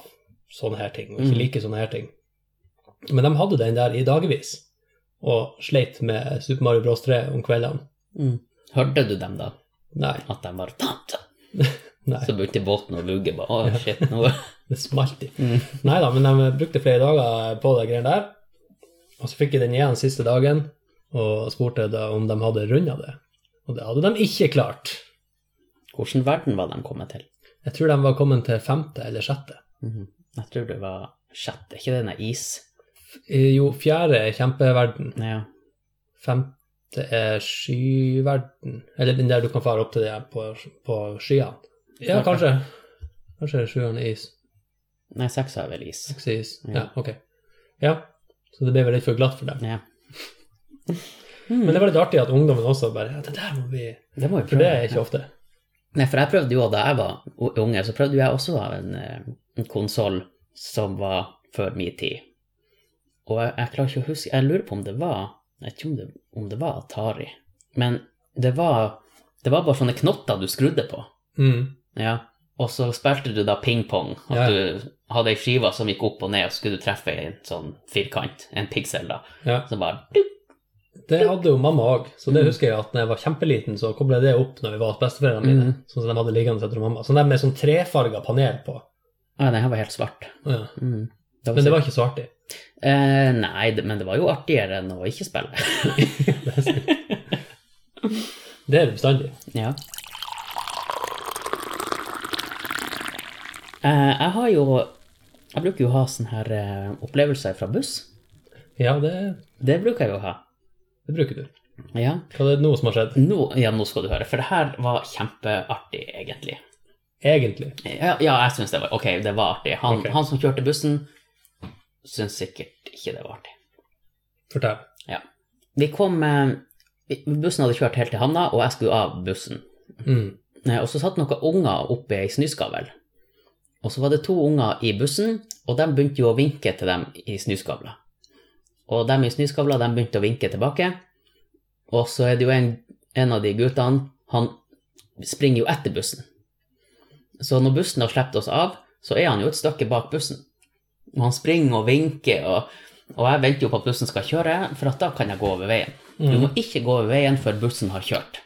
sånne her ting, og ikke
Mm.
liker sånne her ting. Men de hadde den der i dagevis, og sleit med Super Mario Bros. 3 om kveldene.
Mm. Hørte du dem da?
Nei,
At de bare Tante!
nei.
Så begynte båten å vugge. Bare, Å, shit, nå
Det smalt i. Nei da, men de brukte flere dager på det greiene der. Og så fikk jeg den igjen siste dagen og spurte da om de hadde runda det. Og det hadde de ikke klart.
Hvordan verden var de kommet til?
Jeg tror de var kommet til femte eller sjette.
Mhm. Jeg tror det var sjette, ikke denne is?
Eh, Jo, fjerde er kjempeverden.
Ja.
Femte er skyverden. Eller den der du kan fare opp til det på, på skyene. Ja, kanskje. Kanskje sjueren er is.
Nei, seks er vel is.
Seks er is.
Ja.
Ja, ok. Ja, så det ble vel litt for glatt for dem.
Ja. Mm.
Men det var litt artig at ungdommen også bare ja, det der må vi...
Det må vi
For
prøve.
det er ikke ofte.
Nei, for jeg prøvde jo da jeg var u- unge, så prøvde jo jeg også å ha en, eh, en konsoll som var før min tid. Og jeg, jeg klarer ikke å huske Jeg lurer på om det var Jeg vet ikke om det, om det var Atari. Men det var, det var bare sånne knotter du skrudde på.
Mm.
Ja. Og så spilte du da ping-pong. At
Ja.
du hadde ei skive som gikk opp og ned, og så skulle du treffe en sånn firkant, en piksel, da.
Ja.
Så bare dup.
Det hadde jo mamma òg, så det
Mm.
husker jeg at da jeg var kjempeliten, så kobla jeg det opp når vi var hos besteforeldrene mine.
Mm.
Sånn som de hadde liggende etter mamma. Sånn der med sånn trefarga panel på.
Ja, den her var helt svart.
Ja.
Mm.
Men det var ikke så artig.
Eh, nei, det, men det var jo artigere enn å ikke spille.
Det er sant. Det er det bestandig.
ja. Eh, jeg har jo Jeg bruker jo å ha sånne her eh, opplevelser fra buss.
Ja, det,
Det bruker jeg jo å ha.
det bruker du.
Ja.
Hva er det nå som har skjedd?
Nå, ja, nå skal du høre, for det her var kjempeartig, egentlig.
Egentlig.
Ja, ja jeg syns det var Ok, det var artig. Han,
Ok.
han som kjørte bussen, syns sikkert ikke det var artig.
Fortell.
Vi kom eh, vi- Bussen hadde kjørt helt til havna, og jeg skulle av bussen.
Mm.
Eh, Og så satt noen unger oppe i ei snøskavl. Og så var det to unger i bussen, og de begynte jo å vinke til dem i snøskavla. Og dem i snøskavla, de begynte å vinke tilbake. Og så er det jo en, en av de guttene, han springer jo etter bussen. Så når bussen har sluppet oss av, så er han jo et stykke bak bussen. Og han springer og vinker, og, og jeg venter jo på at bussen skal kjøre, for at da kan jeg gå over veien. Du må ikke gå over veien før bussen har kjørt.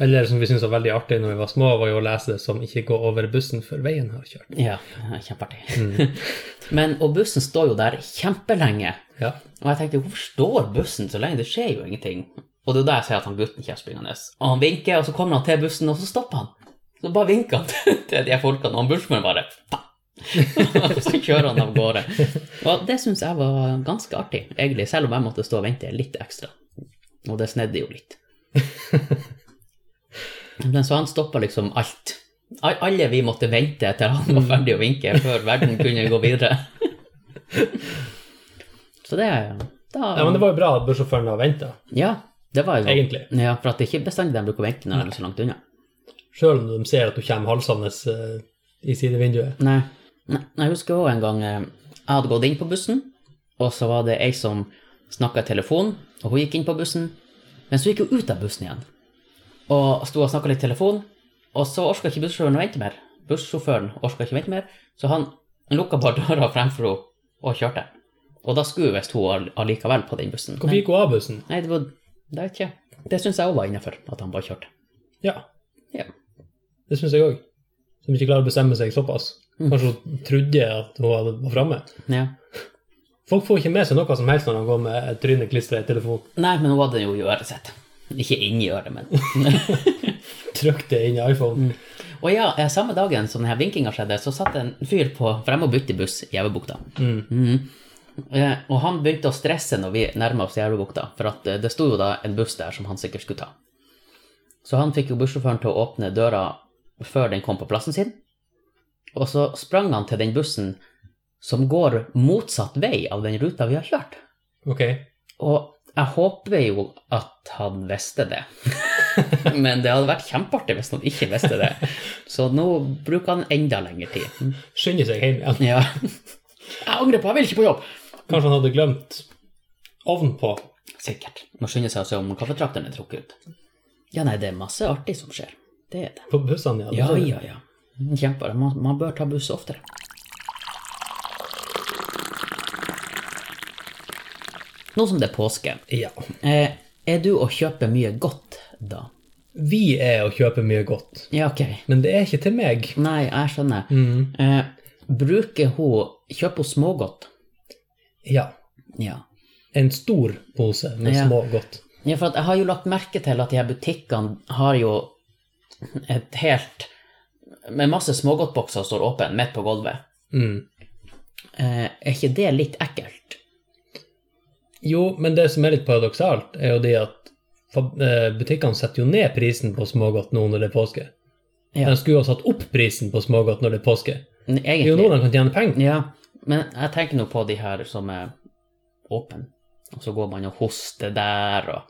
Eller som vi syntes var veldig artig når vi var små, var jo å lese det som 'ikke gå over bussen før veien har kjørt'.
Ja, det er kjempeartig. Men, og bussen står jo der kjempelenge.
Ja.
Og jeg tenkte, hvorfor står bussen så lenge? Det skjer jo ingenting. Og det er da jeg sier at han gutten kommer springende. Og han vinker, og så kommer han til bussen, og så stopper han. Så bare vinker han til- til de her folkene, og han bussmannen bare «Pa!» Og så kjører han av gårde. Og det syns jeg var ganske artig, egentlig, selv om jeg måtte stå og vente litt ekstra. Og det snedde jo litt. Men så han stoppa liksom alt. Al- Alle vi måtte vente til han
Mm.
var ferdig å vinke, før verden kunne gå videre. Så det da,
ja, men det var jo bra at bussjåføren har venta,
ja, det var jo
egentlig.
Ja, for at det er ikke bestandig de bruker å vente når de er så langt unna.
Sjøl om de ser at du kommer halsende eh, i sidevinduet.
Nei. Nei, Jeg husker også en gang eh, jeg hadde gått inn på bussen, og så var det ei som snakka i telefon, og hun gikk inn på bussen, men så gikk hun ut av bussen igjen. Og sto og snakka litt i telefon, og så orka ikke bussjåføren å vente mer. Bussjåføren orka ikke vente mer, så han lukka bare døra fremfor henne og kjørte. Og da skulle visst hun all- allikevel på den bussen.
Hvorfor gikk hun av bussen?
Nei, det var Det vet ikke jeg. Det syns jeg òg var innafor, at han bare kjørte.
Ja.
Ja.
Det syns jeg òg. Som ikke klarer å bestemme seg såpass.
Mm.
Kanskje hun trodde at hun hadde- var framme.
Ja.
Folk får ikke med seg noe som helst når de går med et tryne klistra i telefonen.
Nei, men hun hadde jo i øret sitt. Ikke inni øret, men
Trykk det inn i iPhone.
Mm. Og ja, eh, samme dagen som denne vinkinga skjedde, så satt en fyr på For jeg må bytte buss i Gjevebukta.
Mm.
Eh, Og han begynte å stresse når vi nærma oss Gjevebukta, for at eh, det sto jo da en buss der som han sikkert skulle ta. Så han fikk jo bussjåføren til å åpne døra før den kom på plassen sin. Og så sprang han til den bussen som går motsatt vei av den ruta vi har kjørt.
Ok.
Og jeg håper jo at han visste det. Men det hadde vært kjempeartig hvis han ikke visste det. Så nå bruker han enda lengre tid.
Skynder seg hjem igjen.
Ja. Jeg angrer på, jeg vil ikke på jobb!
Kanskje han hadde glemt ovnen på.
Sikkert. Må skynde seg å se om kaffetrakteren er trukket ut. Ja, nei, det er masse artig som skjer. Det er det.
På bussene, ja.
Ja, ja, ja. Kjemper. Mm, Man, man bør ta buss oftere. Nå som det er påske,
Ja.
eh, er du å kjøpe mye godt da?
Vi er å kjøpe mye godt,
Ja, ok.
men det er ikke til meg.
Nei, jeg skjønner.
Mm.
Eh, bruker hun Kjøper hun smågodt?
Ja.
Ja.
En stor pose med
Ja.
små godt.
Ja, for at jeg har jo lagt merke til at de her butikkene har jo et helt Med masse smågodtbokser står åpen midt på gulvet.
Mm.
Eh, er ikke det litt ekkelt?
Jo, men det som er litt paradoksalt, er jo det at fa- eh, butikkene setter jo ned prisen på smågodt nå når det er påske.
Ja.
De skulle jo ha satt opp prisen på smågodt når det er påske.
N-
Det er jo nå
Egentlig.
de kan tjene penger.
Ja, men jeg tenker nå på de her som er åpne. Og så går man og hoster der, og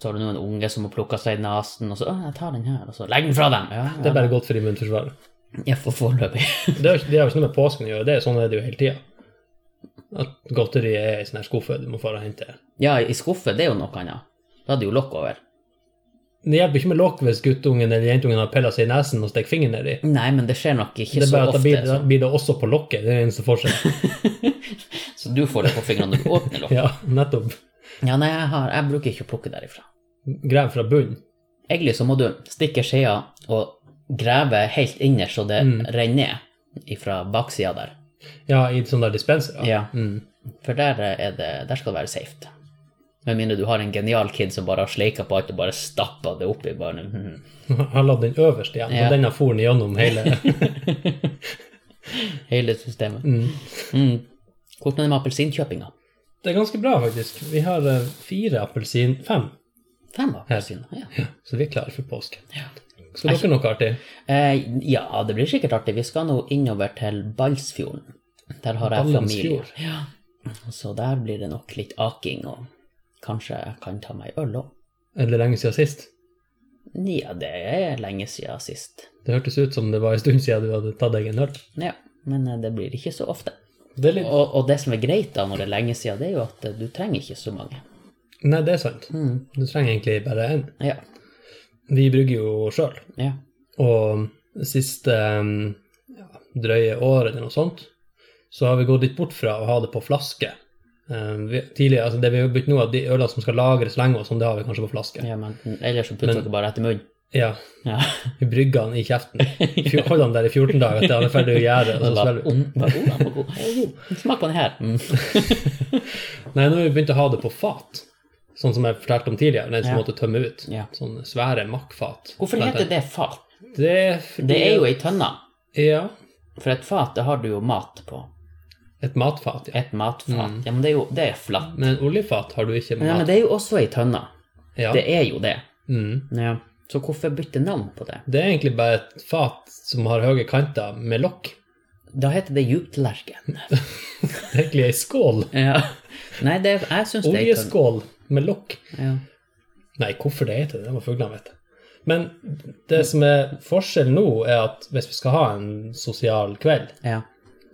så har du nå en unge som må plukke seg i nesen, og så «Å, jeg tar den her, og så legg den fra dem! Ja,
Det
ja.
er bare godt for immunforsvaret.
Jeg får foreløpig.
Det har jo ikke- det har jo ikke noe med påsken å gjøre, det er sånn er det jo hele tida. At godteriet er i sånn her skuffe du må fare og hente.
Ja, i skuffe, det er jo noe annet. Da er det jo lokk over.
Det hjelper ikke med lokk hvis guttungen eller jentungen har pella seg i nesen og stikker fingeren nedi.
Nei, men det skjer nok ikke
Det er
så
bare at da
ofte.
blir, da
så-
blir det også på lokket, det er den eneste forskjellen.
Så du får det på fingrene når du åpner lokket?
Ja, nettopp.
Ja, nei, jeg, har, jeg bruker ikke å plukke derifra.
Grev fra bunnen.
Egentlig så må du stikke skjea og grave helt innerst så det
Mm.
renner ned fra baksida der.
Ja, i sånn der dispenser.
Ja.
Mm.
For der, er det, der skal det være safe. Med mindre du har en genial kid som bare har sleika på alt og bare stappa det oppi. Bare, mhm.
Han la den øverst igjen,
Ja.
og den har foren gjennom hele
Hele systemet.
mm.
Mm. Hvordan er det med appelsinkjøpinga?
Det er ganske bra, faktisk. Vi har eh, fire appelsin... Fem.
Fem appelsiner? Ja.
Så vi er klare for påske.
Ja.
Skal dere noe artig?
Eh, ja, det blir sikkert artig. Vi skal nå innover til Balsfjorden. Der har jeg familie.
Ballensfjord.
Ja. Så der blir det nok litt aking, og kanskje jeg kan ta meg øl òg.
Er det lenge siden sist?
Ja, det er lenge siden sist.
Det hørtes ut som det var en stund siden du hadde tatt deg en øl.
Ja, men eh, det blir ikke så ofte.
Det er litt...
Og, og det som er greit da når det er lenge siden, det er jo at eh, du trenger ikke så mange.
Nei, det er sant.
Mm.
Du trenger egentlig bare en.
Ja.
Vi brygger jo sjøl.
ja.
Og det siste um, ja, drøye året eller noe sånt, så har vi gått litt bort fra å ha det på flaske. Um, vi, tidligere, altså Det vi har begynt nå, at de ølene som skal lagres lenge, og sånn, det har vi kanskje på flaske.
ja
Ja,
men ellers så putter
Men-
dere bare etter munnen. Ja.
Vi brygger den i kjeften. Fjo- Holder den der i 14 dager til den er ferdig å gjære. og så
Bare,
svelger vi.
mm, bare, oh, den var god. Smak på den her. Mm.
Nei, nå har vi begynt å ha det på fat, sånn som jeg fortalte om tidligere. Den som
Ja.
måtte tømme ut.
Ja.
Sånne svære makkfat. Sånn
Hvorfor heter det fat?
Det,
Det er jo ei tønne.
Ja.
For et fat, det har du jo mat på.
Et matfat, ja.
Et matfat. Ja, men det er jo det er flatt.
Men oljefat har du
Men,
ikke.
Mm. ja, men
Mat.
det er jo også ei tønne.
Ja.
Det er jo det.
Mm.
Ja. Så hvorfor bytte navn på det?
Det er egentlig bare et fat som har høye kanter med lokk.
Da heter det djuptallerken.
Det er egentlig ei skål.
Ja. Nei, det, jeg syns det er ei tønne.
Oljeskål med lokk.
Ja.
Nei, hvorfor det heter det, det må fuglene vite. Men det som er forskjellen nå, er at hvis vi skal ha en sosial kveld,
ja.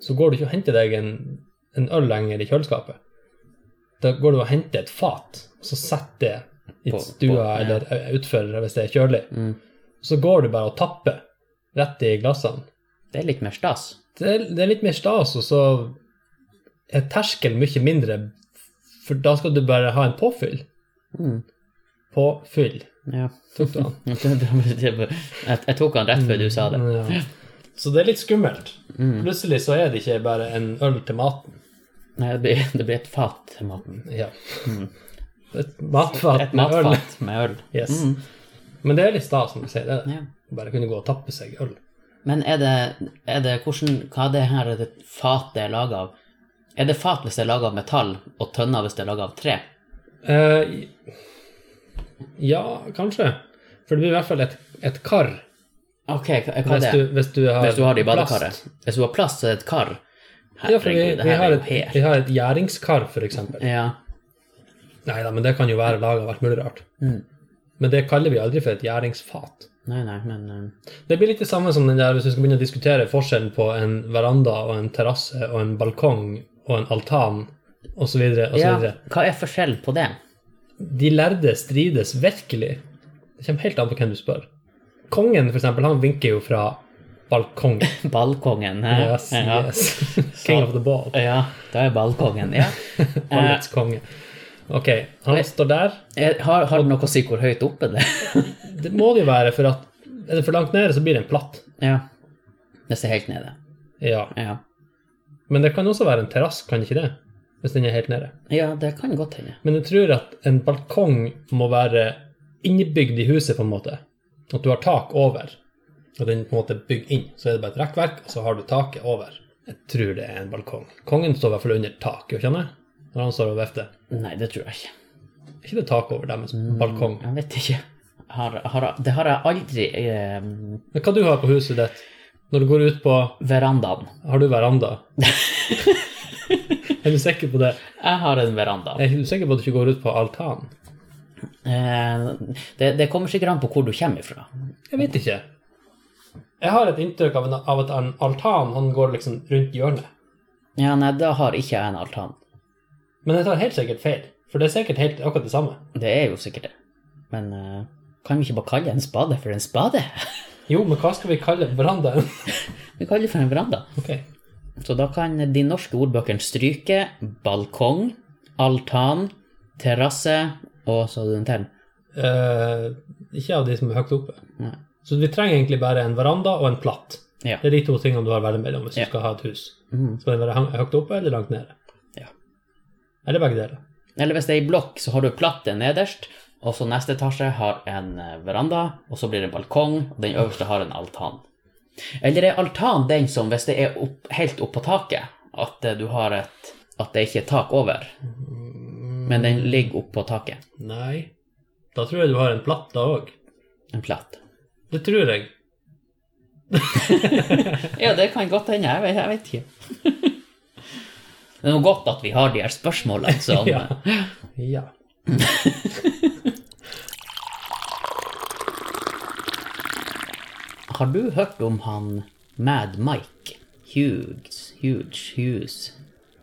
så går du ikke og henter deg en, en øl lenger i kjøleskapet. Da går du og henter et fat, og så setter det i
På-
stua
på- ja.
eller eh, utfor hvis det er kjølig.
Mm.
Så går du bare og tapper rett i glassene.
Det er litt mer stas.
det er, det er litt mer stas, og så er terskelen mye mindre, for da skal du bare ha en påfyll.
Mm.
Påfyll.
Ja.
Tok du den?
jeg, jeg tok han rett før du sa det.
Ja. Så det er litt skummelt.
Mm.
Plutselig så er det ikke bare en øl til maten.
Nei, det blir, det blir et fat til maten.
Ja.
Mm.
Et matfat
Et
med øl.
matfat med øl.
Yes.
Mm.
Men det er litt stas, som du sier. Det er det.
Ja.
Bare kunne gå og tappe seg øl.
Men er det, er det hvordan, hva det her er det fatet er laget av? Er det fat hvis det er laget av metall, og tønner hvis det er laget av tre?
Eh, ja, kanskje. For det blir i hvert fall et, et kar.
Ok, hva, hva er
Hvis
det?
du, hvis du har,
hvis du har det i
plast.
badekaret. Hvis du har plast, så er det et kar.
Ja, for vi,
Herregud, det
vi,
her
har
er jo
et, vi
helt...
har et gjæringskar, for eksempel.
Ja,
Nei da, men det kan jo være laga av alt mulig rart.
Mm.
Men det kaller vi aldri for et gjæringsfat.
nei, nei, men... eh,
Det blir litt det samme som den der, hvis vi skal begynne å diskutere forskjellen på en veranda og en terrasse og en balkong og en altan osv.
Ja,
videre.
hva er forskjell på det?
De lærde strides virkelig. Det kommer helt an på hvem du spør. Kongen, for eksempel, han vinker jo fra balkongen.
Balkongen, hæ?
Yes,
ja.
yes. King of the ball.
Ja, da er balkongen, ja.
Ballets konge. OK, han
Nei.
står der.
Er- Har, har det noe å si hvor høyt oppe det
Det må det jo være, for at er det for langt nede, så blir den platt.
Ja. Det ser helt nede.
Ja.
Ja.
Men det kan også være en terrasse, kan ikke det? Hvis den er helt nede.
ja, det kan godt hende.
Men jeg tror at en balkong må være innebygd i huset, på en måte. At du har tak over. Og den på en måte bygger inn. Så er det bare et rekkverk, og så har du taket over. Jeg tror det er en balkong. Kongen står i hvert fall under taket, gjør ikke han det? Når han står og vifter.
Nei, det tror jeg ikke.
Er ikke det tak over deres balkong?
Jeg vet ikke. Har, har, det har jeg aldri eh,
Men hva du har på huset ditt? Når du går ut på
Verandaen.
Har du veranda? er du sikker på det?
Jeg har en veranda.
Er du sikker på at du ikke går ut på altan?
Eh, det, det kommer sikkert an på hvor du kommer ifra.
Jeg vet ikke. Jeg har et inntrykk av, en, av at en altan han går liksom rundt hjørnet.
Ja, nei, da har ikke jeg en altan.
Men jeg tar helt sikkert feil, for det er sikkert helt akkurat det samme.
Det er jo sikkert det. Men eh, kan vi ikke bare kalle en spade for en spade?
Jo, men hva skal vi kalle verandaen?
Vi kaller det for en veranda.
ok.
Så da kan de norske ordbøkene stryke balkong, altan, terrasse og så den til.
Eh, ikke av de som er høyt oppe.
Nei.
Så vi trenger egentlig bare en veranda og en platt.
Ja.
Det er de to tingene du har å velge mellom hvis
Ja.
du skal ha et hus.
Mm.
Skal den være hang- høyt oppe eller langt nede?
Ja.
Eller begge deler.
Eller hvis det er ei blokk, så har du platte nederst, og så neste etasje har en eh, veranda, og så blir det en balkong, og den øverste har en altan. Eller er altan den som, hvis det er opp, helt opp på taket, at eh, du har et At det ikke er tak over, men den ligger opp på taket.
Nei. Da tror jeg du har en platt da òg.
En platt.
Det tror jeg.
Ja, det kan godt hende. Jeg, vet- jeg vet ikke. Det er noe godt at vi har de her spørsmålene som
Ja. ja.
Har du hørt om han Mad Mike? Hughes, Hughes, Hughes.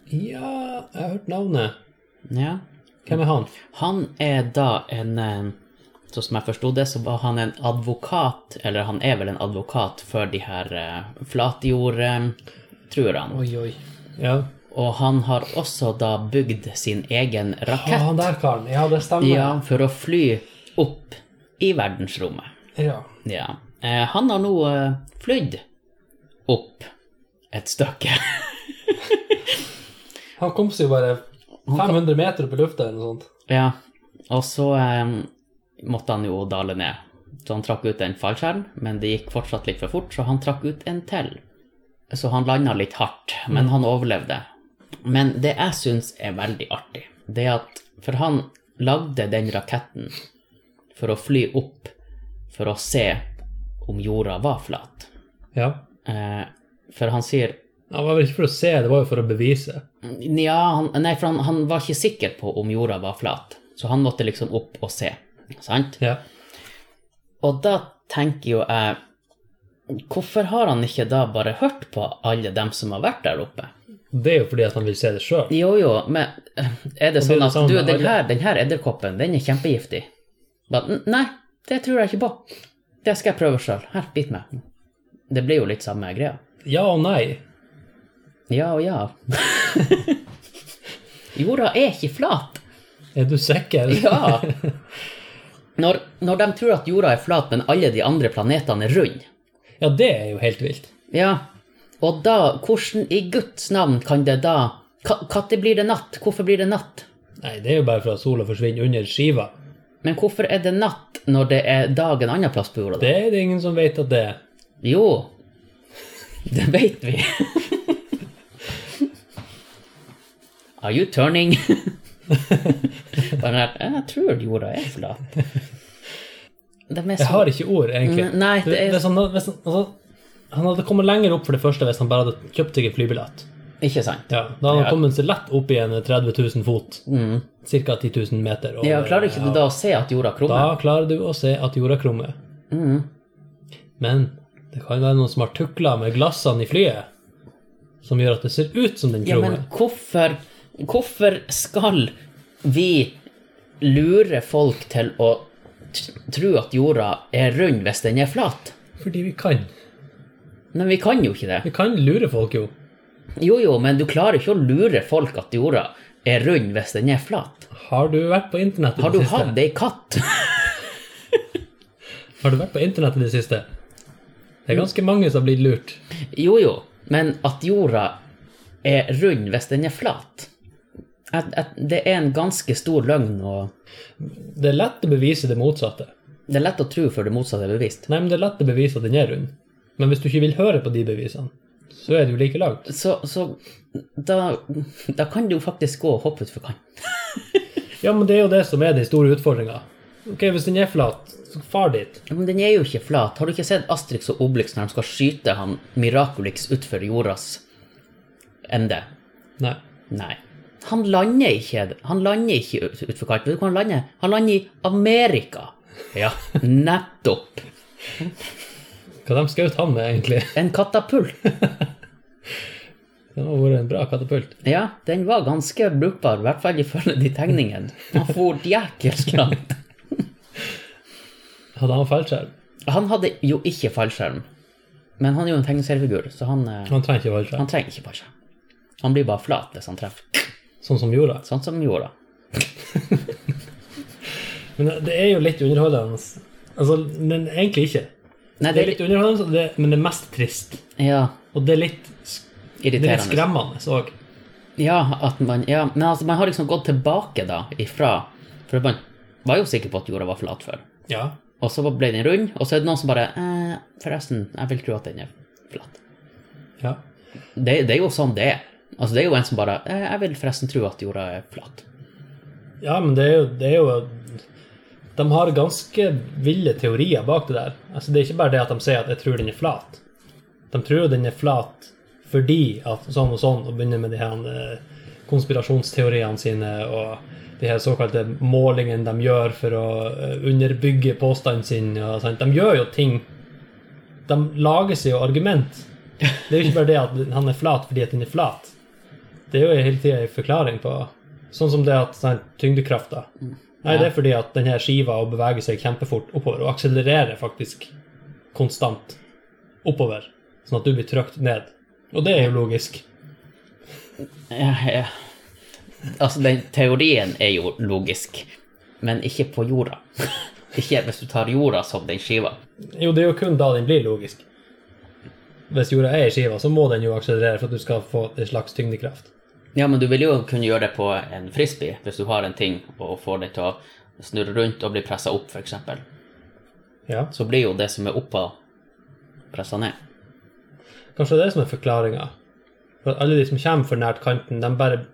Ja, jeg har hørt navnet.
Ja.
Hvem er han?
Han er da en eh, Sånn som jeg forsto det, så var han en advokat, eller han er vel en advokat for de her eh, flatjordtruerne.
Oi, oi. Ja.
Og han har også da bygd sin egen
Å,
rakett
han der karen. Ja, det stemmer.
ja, for å fly opp i verdensrommet.
Ja.
Ja. Eh, han har nå eh, flydd opp et stykke.
Han kom seg jo bare 500 meter opp i lufta eller noe sånt.
Ja, og så eh, måtte han jo dale ned. Så han trakk ut en fallskjerm, men det gikk fortsatt litt for fort, så han trakk ut en til. Så han landa litt hardt, men han overlevde. Men det jeg syns er veldig artig, det er at For han lagde den raketten for å fly opp for å se om jorda var flat.
Ja.
Eh, for han sier
Det var vel ikke for å se, det var jo for å bevise.
Nja, han, nei, for han, han var ikke sikker på om jorda var flat, så han måtte liksom opp og se. Sant?
Ja.
Og da tenker jo jeg Hvorfor har han ikke da bare hørt på alle dem som har vært der oppe?
Det er jo fordi at han vil se det sjøl.
Jo, jo, men er det
Og det er
sånn
det
at
samme
du,
med
den
alle.
her, den her edderkoppen, den er kjempegiftig? Ba, "N- Nei, det tror jeg ikke på. Det skal jeg prøve sjøl. Her, bit meg. Det blir jo litt samme greia.
Ja og nei.
Ja og ja. Jorda er ikke flat.
Er du sikker?
Ja. Når, når de tror at jorda er flat, men alle de andre planetene er runde.
Ja, det er jo helt vilt.
Ja. Og da, hvordan i Guds navn kan det da Når blir det natt? Hvorfor blir det natt?
Nei, det er jo bare for at sola forsvinner under skiva.
Men hvorfor er det natt når det er dag en annen plass på jorda? da?
Det er det ingen som vet at det er.
Jo, det vet vi. Are you turning? Bare her, jeg tror jorda er flat. De er så...
Jeg har ikke ord, egentlig.
N- nei, det er-
Hvis han, hadde- hvis han, altså, han hadde kommet lenger opp for det første hvis han bare hadde kjøpt seg en flybillett.
Ikke sant?
Ja, da hadde han
Ja. Mm.
kommet seg lett opp igjen 30 000 fot. Cirka 10 000 meter. over-
Ja, klarer ikke du da Mm. å se at jorda krummer?
Da klarer du å se at jorda krummer. Men det kan være noen som har tukla med glassene i flyet, som gjør at det ser ut som den
Ja, men
krummer.
hvorfor, hvorfor skal vi lure folk til å t- tro at jorda er rund hvis den er flat?
Fordi vi kan.
Men vi kan jo ikke det.
Vi kan lure folk, jo.
Jo, jo, men du klarer ikke å lure folk at jorda er rund hvis den er flat.
Har du vært på internett i
Har
det
du
siste?
hatt ei katt?
Har du vært på internett i det siste? Det er ganske mange som har blitt lurt.
Jo, jo, men at jorda er rund hvis den er flat. At, at det er en ganske stor løgn, og
Det er lett å bevise det motsatte.
det er lett å tro før det motsatte er bevist.
Nei, men det er lett å bevise at den er rund. Men hvis du ikke vil høre på de bevisene, så er det jo like langt.
Så, så da, da kan du jo faktisk gå og hoppe utfor kanten.
Ja, men det er jo det som er den store utfordringa. Ok, hvis den er flat, så far dit.
Men den er jo ikke flat. Har du ikke sett Astrix og Obelix når de skal skyte han Miraculix utfor jordas ende?
Nei.
Nei. Han lander ikke Han lander ikke ut- utfor kanten. Vet du hvor han lander? Han lander i Amerika. Ja, nettopp.
Hva de skjøt han med, egentlig?
En katapult.
Det må vært en bra katapult.
Ja, den var ganske brukbar, i hvert fall ifølge de tegningene. Han for jækels langt.
Hadde han fallskjerm?
Han hadde jo ikke fallskjerm, men han er jo en tegneseriefigur, så han, eh,
Han trenger ikke fallskjerm.
han trenger ikke fallskjerm. Han blir bare flat hvis han treffer,
Sånn som jorda.
sånn som jorda.
Men det er jo litt underholdende. Altså, men egentlig ikke.
Nei,
Det er litt underholdende, og det- men det er mest trist.
ja,
Og det er litt, det er litt
irriterende.
skremmende òg.
Ja, at man, ja, men altså, man har liksom gått tilbake da, ifra, for man var jo sikker på at jorda var flat før.
Ja.
Og så ble den rund, og så er det noen som bare, eh, forresten, jeg vil tro at den er flat.
ja.
Det, det er jo sånn det er. Altså, det er jo en som bare eh, Jeg vil forresten tro at jorda er flat.
Ja, men det er, jo, det er jo De har ganske ville teorier bak det der. Altså, det er ikke bare det at de sier at 'jeg tror den er flat'. De tror den er flat fordi at sånn og sånn, og begynner med de her eh, konspirasjonsteoriene sine og de her såkalte målingene de gjør for å eh, underbygge påstanden sin. Og sånt. De gjør jo ting. De lager seg jo argument. Det er jo ikke bare det at han er flat fordi at den er flat. Det er jo hele tida en forklaring på Sånn som det at sånn, tyngdekrafta Nei, det er fordi at denne skiva å bevege seg kjempefort oppover og akselererer faktisk konstant oppover, sånn at du blir trykt ned. Og det er jo logisk.
Ja, ja. Altså, den teorien er jo logisk, men ikke på jorda. ikke hvis du tar jorda som den skiva.
Jo, det er jo kun da den blir logisk. Hvis jorda er i skiva, så må den jo akselerere for at du skal få en slags tyngdekraft.
Ja, men du vil jo kunne gjøre det på en frisbee, hvis du har en ting og får det til å snurre rundt og bli pressa opp, f.eks.
Ja.
Så blir jo det som er oppå, pressa ned.
Kanskje det er det som er forklaringa. For at alle de som kommer for nært kanten, de bare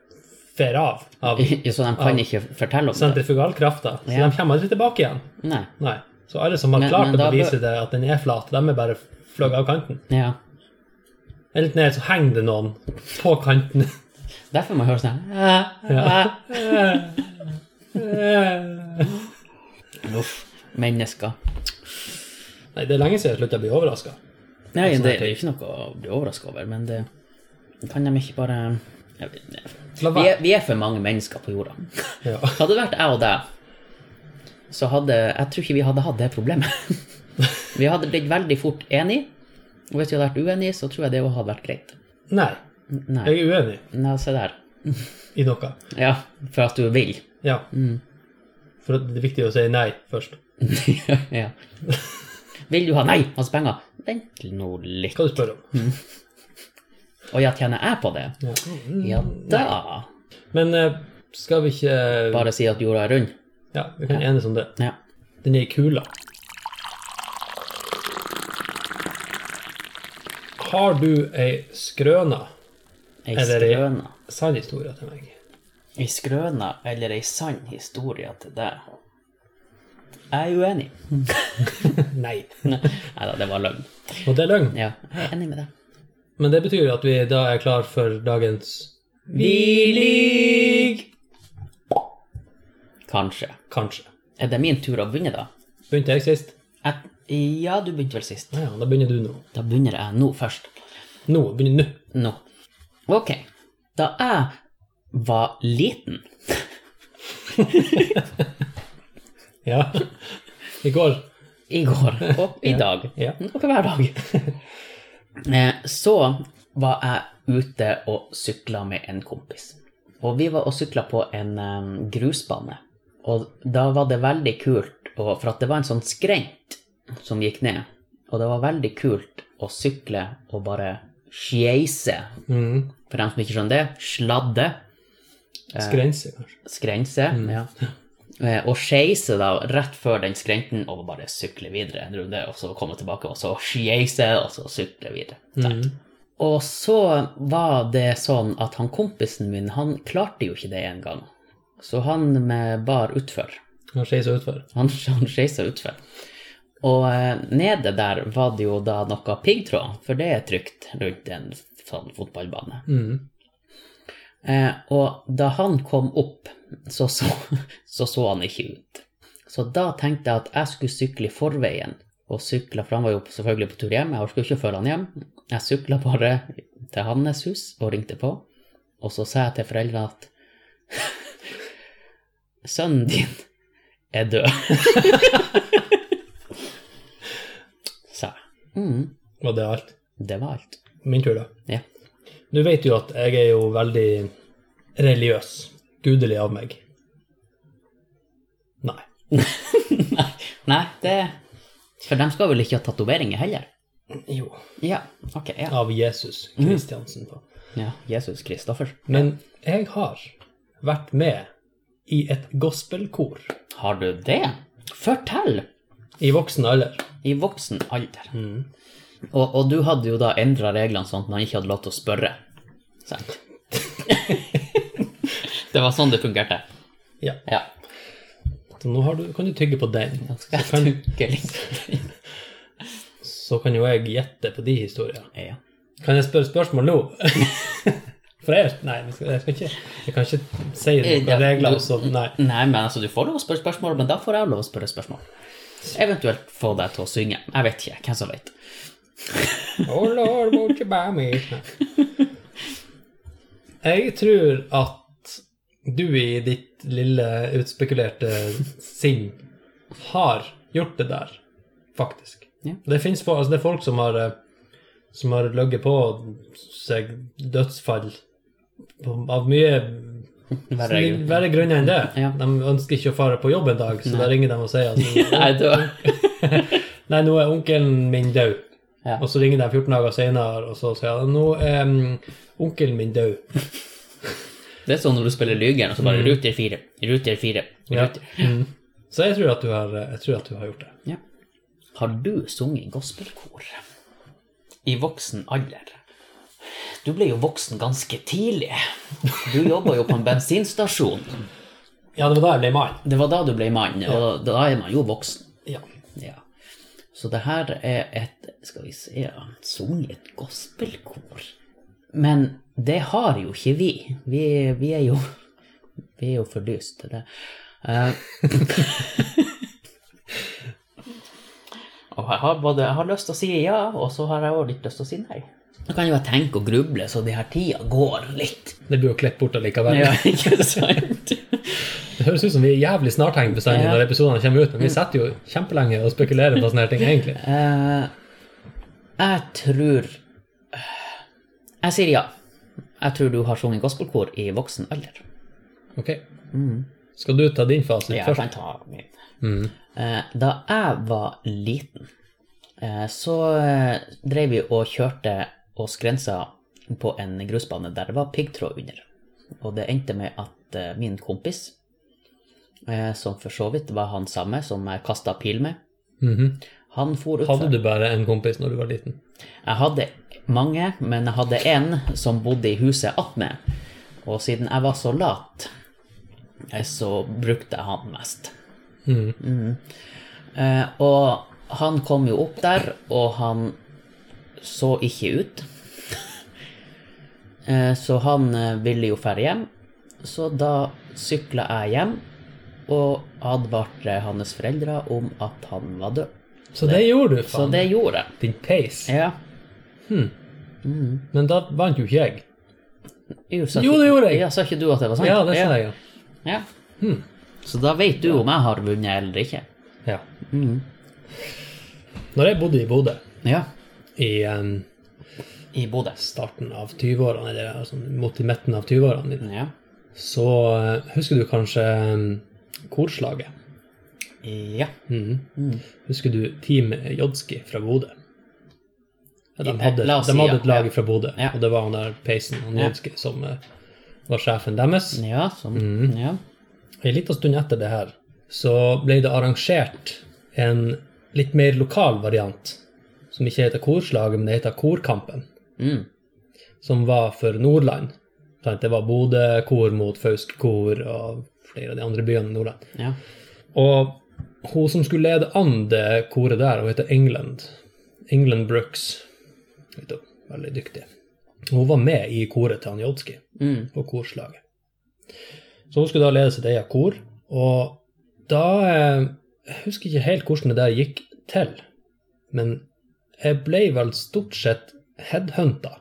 fer av av
Så de kan ikke fortelle om det.
sentrifugalkrafta. Så
Ja.
de kommer aldri tilbake igjen.
Nei.
Nei. Så alle som har
Men-
klart
men da
å
bør-
bevise det at den er flat, de er bare fløyet av kanten.
Ja.
En litt ned, så henger det noen på kanten.
Derfor må jeg høre sånn her.
Ja. Nei,
Uff. Mennesker.
det er lenge siden jeg slutta å bli overraska.
Nei,
Altså,
det
det
er ikke noe å bli overraska over, men det kan de ikke bare Jeg vet ikke.
La
vi
være.
er, vi er for mange mennesker på jorda.
Ja.
Hadde det vært jeg og deg, så hadde Jeg tror ikke vi hadde hatt det problemet. Vi hadde blitt veldig fort enige, og hvis vi hadde vært uenige, så tror jeg det også hadde vært greit.
Nei,
Nei,
jeg er uenig
Nei se der.
i noe.
Ja, for at du vil.
Ja.
Mm.
For det er viktig å si nei først.
ja. Vil du ha Nei, hans penger? Vent nå litt.
Hva du spør
Mm.
om.
Å ja, tjener jeg på det?
Ja.
Ja da.
Men eh, skal vi ikke eh,
Bare si at jorda er rund?
Ja, vi kan enes om det.
Ja.
Den er i kula. Har du ei skrøne?
Ei
Eller i-
skrøne.
Sann historie til meg.
Ei skrøne eller ei sann historie til deg? Jeg er uenig.
Nei.
Nei da, det var løgn.
Og det er løgn.
Ja, jeg er enig med deg.
Men det betyr at vi da er klar for dagens
Vi lyg! Kanskje.
Kanskje.
Er det min tur å begynne, da?
Begynte jeg sist?
Jeg... Ja, du begynte vel sist.
Ja, ja, da begynner du nå.
Da begynner jeg nå først.
Nå, begynner nå.
Nå. Ok. Da jeg var liten
Ja. I går.
i går og Mm, i dag,
Ja.
og hver dag, eh, så var jeg ute og sykla med en kompis. Og vi var og sykla på en em, grusbane. Og da var det veldig kult, og for at det var en sånn skrent som gikk ned. Og det var veldig kult å sykle og bare skeise.
Mm.
For dem som ikke skjønner det, sladde,
Skrense, kanskje.
skrense. Ja. Eh, Og skeise da rett før den skrenten og bare sykle videre en runde, og så komme tilbake, og så skeise, og så sykle videre.
Mm.
Og så var det sånn at han kompisen min, han klarte jo ikke det en gang. Så han eh, bar utfor.
Han skeiser utfor.
Han, han skeisa utfor. Og eh, nede der var det jo da noe piggtråd, for det er trygt rundt en sånn fotballbane.
Mm.
Eh, og da han kom opp, så så, så så han ikke ut. Så da tenkte jeg at jeg skulle sykle i forveien. Og sykla, for han var jo selvfølgelig på tur hjem, jeg orka ikke å følge han hjem. Jeg sykla bare til hans hus og ringte på. Og så sa jeg til foreldrene at sønnen din er død. sa jeg. Mm,
Og det er alt.
det var alt.
Min tur, da.
Ja.
Du vet jo at jeg er jo veldig religiøs. Gudelig av meg. Nei.
Nei, det For de skal vel ikke ha tatoveringer heller?
Jo.
Ja, ok. Ja.
Av Jesus Kristiansen. da.
ja Jesus Kristoffer.
Men jeg har vært med i et gospelkor
Har du det? Fortell!
i voksen alder.
I voksen alder. Og, og du hadde jo da endra reglene sånn at man ikke hadde lov til å spørre. Sant? det var sånn det fungerte.
Ja.
Ja.
Så nå har du, kan du tygge på den.
Skal
kan-
jeg tygge litt?
Så kan jo jeg gjette på de historiene.
ja.
Kan jeg spørre spørsmål nå? For jeg, nei, jeg skal, jeg skal ikke Jeg kan ikke si noen
Ja,
regler
du-
og sånn. Nei.
Nei, men altså, du får lov å spørre spørsmål, men da får jeg lov å spørre spørsmål. Eventuelt få deg til å synge. Jeg vet ikke. Hvem som vet.
Oh lord, won't you buy me? Nei. Jeg tror at du i ditt lille utspekulerte sinn har gjort det der, faktisk.
Ja.
Det fins altså det er folk som har, eh, som har ligget på seg dødsfall på- av mye
Verre grunn.
verre grunner enn det.
Ja.
De ønsker ikke å fare på jobb en dag, så da ringer de og sier at
Jeg er død.
Nei, nå er onkelen min død.
Ja.
Og så ringer de 14 dager senere, og så sier de nå er mm, onkelen min død.
Det er sånn når du spiller Lygeren, og så bare ruter fire, ruter fire,
Ja.
ruter.
Mm. Så jeg tror, at du har, jeg tror at du har gjort det.
Ja. Har du sunget i gospelkor i voksen alder? Du ble jo voksen ganske tidlig. Du jobba jo på en bensinstasjon.
Ja, det var da jeg ble mann.
Det var da du ble mann, og da er man jo voksen.
Ja.
Ja. Så det her er et Skal vi se ja, Sunget i et gospelkor. Men det har jo ikke vi. Vi, vi er jo Vi er jo for lyst til det. Eh. og jeg har, både, jeg har lyst til å si ja, og så har jeg også litt lyst til å si nei. Nå kan jo jeg tenke og gruble, så de her tida går litt.
Det blir jo klippet bort allikevel.
Ja, ikke sant?
Det høres ut som vi er jævlig snartenkt bestandig
Ja.
når episodene kommer ut, men vi sitter jo kjempelenge og spekulerer på sånne her ting, egentlig.
Eh, jeg tror Jeg sier ja. Jeg tror du har sunget gospelkor i voksen alder.
Ok. Mm. Skal du ta din fasit
Ja, jeg kan
først?
ta min.
Mm.
Eh, Da jeg var liten, eh, så eh, drev vi og kjørte oss grensa på en grusbane der det var piggtråd under. Og det endte med at eh, min kompis, eh, som for så vidt var han samme som jeg kasta pil med,
Mhm.
han for utfor.
Hadde du bare en kompis når du var liten?
Jeg hadde mange, men jeg hadde én som bodde i huset attmed. Og siden jeg var så lat, eh, så brukte jeg han mest. Mm. Eh, og han kom jo opp der, og han så ikke ut. Eh, så han eh, ville jo ferde hjem, så da sykla jeg hjem og advarte hans foreldre om at han var død.
Så det, gjorde du,
Så
faen.
det gjorde jeg.
Din peis.
Ja.
Men da vant jo ikke jeg.
Jo, sa
Jo,
ikke-
det gjorde jeg.
Ja, sa ikke du at det var sant?
Ja, det sa jeg, Hm. ja.
Ja. Så da vet du om jeg har vunnet eller ikke.
Ja. Mhm. Når jeg bodde i Bodø
Ja.
i em,
I Bodø.
starten av 20-årene, eller altså, mot i midten av 20-årene, mine,
Ja.
så eh, husker du kanskje mm, korslaget?
Ja.
Mhm.
Mm.
Husker du Team Jodski fra Bodø? Ja, De
Ja,
hadde,
Eh, la oss
de
si,
hadde
ja.
et lag
Ja.
fra Bodø,
Ja.
og det var han der Peisen, han
Ja.
Jodski, som eh, var sjefen deres.
Ja, sånn.
Mhm.
Ja.
En liten stund etter det her så ble det arrangert en litt mer lokal variant, som ikke heter Korslaget, men det heter Korkampen,
Mm.
som var for Nordland. Sant, Det var Bodø-kor mot Fauske-kor og flere av de andre byene i Nordland.
ja.
Og hun som skulle lede an det koret der, hun heter England. England Brooks. Vet du, veldig dyktig. Hun var med i koret til han Jodski
Mm.
på korslaget. Så hun skulle da lede sitt eget kor, og da eh, Jeg husker ikke helt hvordan det der gikk til, men jeg ble vel stort sett headhunta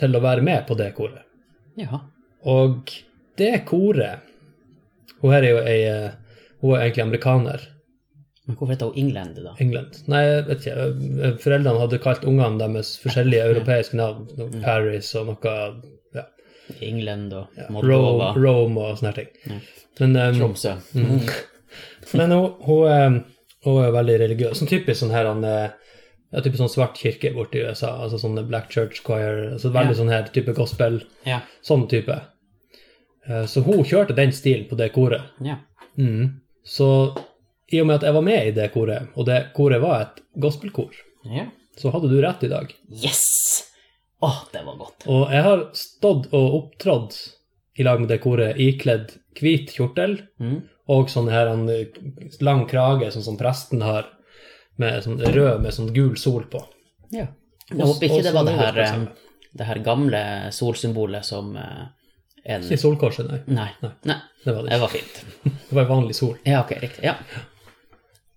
til å være med på det koret.
ja.
Og det koret Hun her er jo ei eh, Hun er egentlig amerikaner.
Men hvorfor heter hun England, da?
England. Nei, jeg vet ikke. eh, Foreldrene hadde kalt ungene deres forskjellige europeiske navn. noe Paris og noe ja,
England og
Rome,
Moldova.
Rome og sånne ting.
Ja.
Men, eh,
Tromsø.
Mm. Men hun, hun, eh, hun er veldig religiøs. Sånn typisk sånn her han, eh, ja, typisk sånn svart kirke borte i USA. Altså sånn Black Church Choir. Altså veldig
Ja.
sånn her type gospel.
Ja.
Sånn type. Eh, Så hun kjørte den stilen på det koret.
ja.
Mm. Så i og med at jeg var med i det koret, og det koret var et gospelkor,
ja.
så hadde du rett i dag.
Yes! Å, det var godt.
Og jeg har stått og opptrådt i lag med det koret ikledd hvit kjortel
Mm.
og sånn her en lang krage, sånn som presten har, med sånn rød med sånn gul sol på.
Ja. Jeg håper ikke
Og-
det
og
var det
sånn
her,
for
eh,
eksempel.
det her gamle solsymbolet som eh, en
Ikke solkorset, nei.
Nei.
Nei.
Nei,
Det var det
det
ikke.
var fint.
Det var vanlig sol.
Ja, ok, riktig. Ja.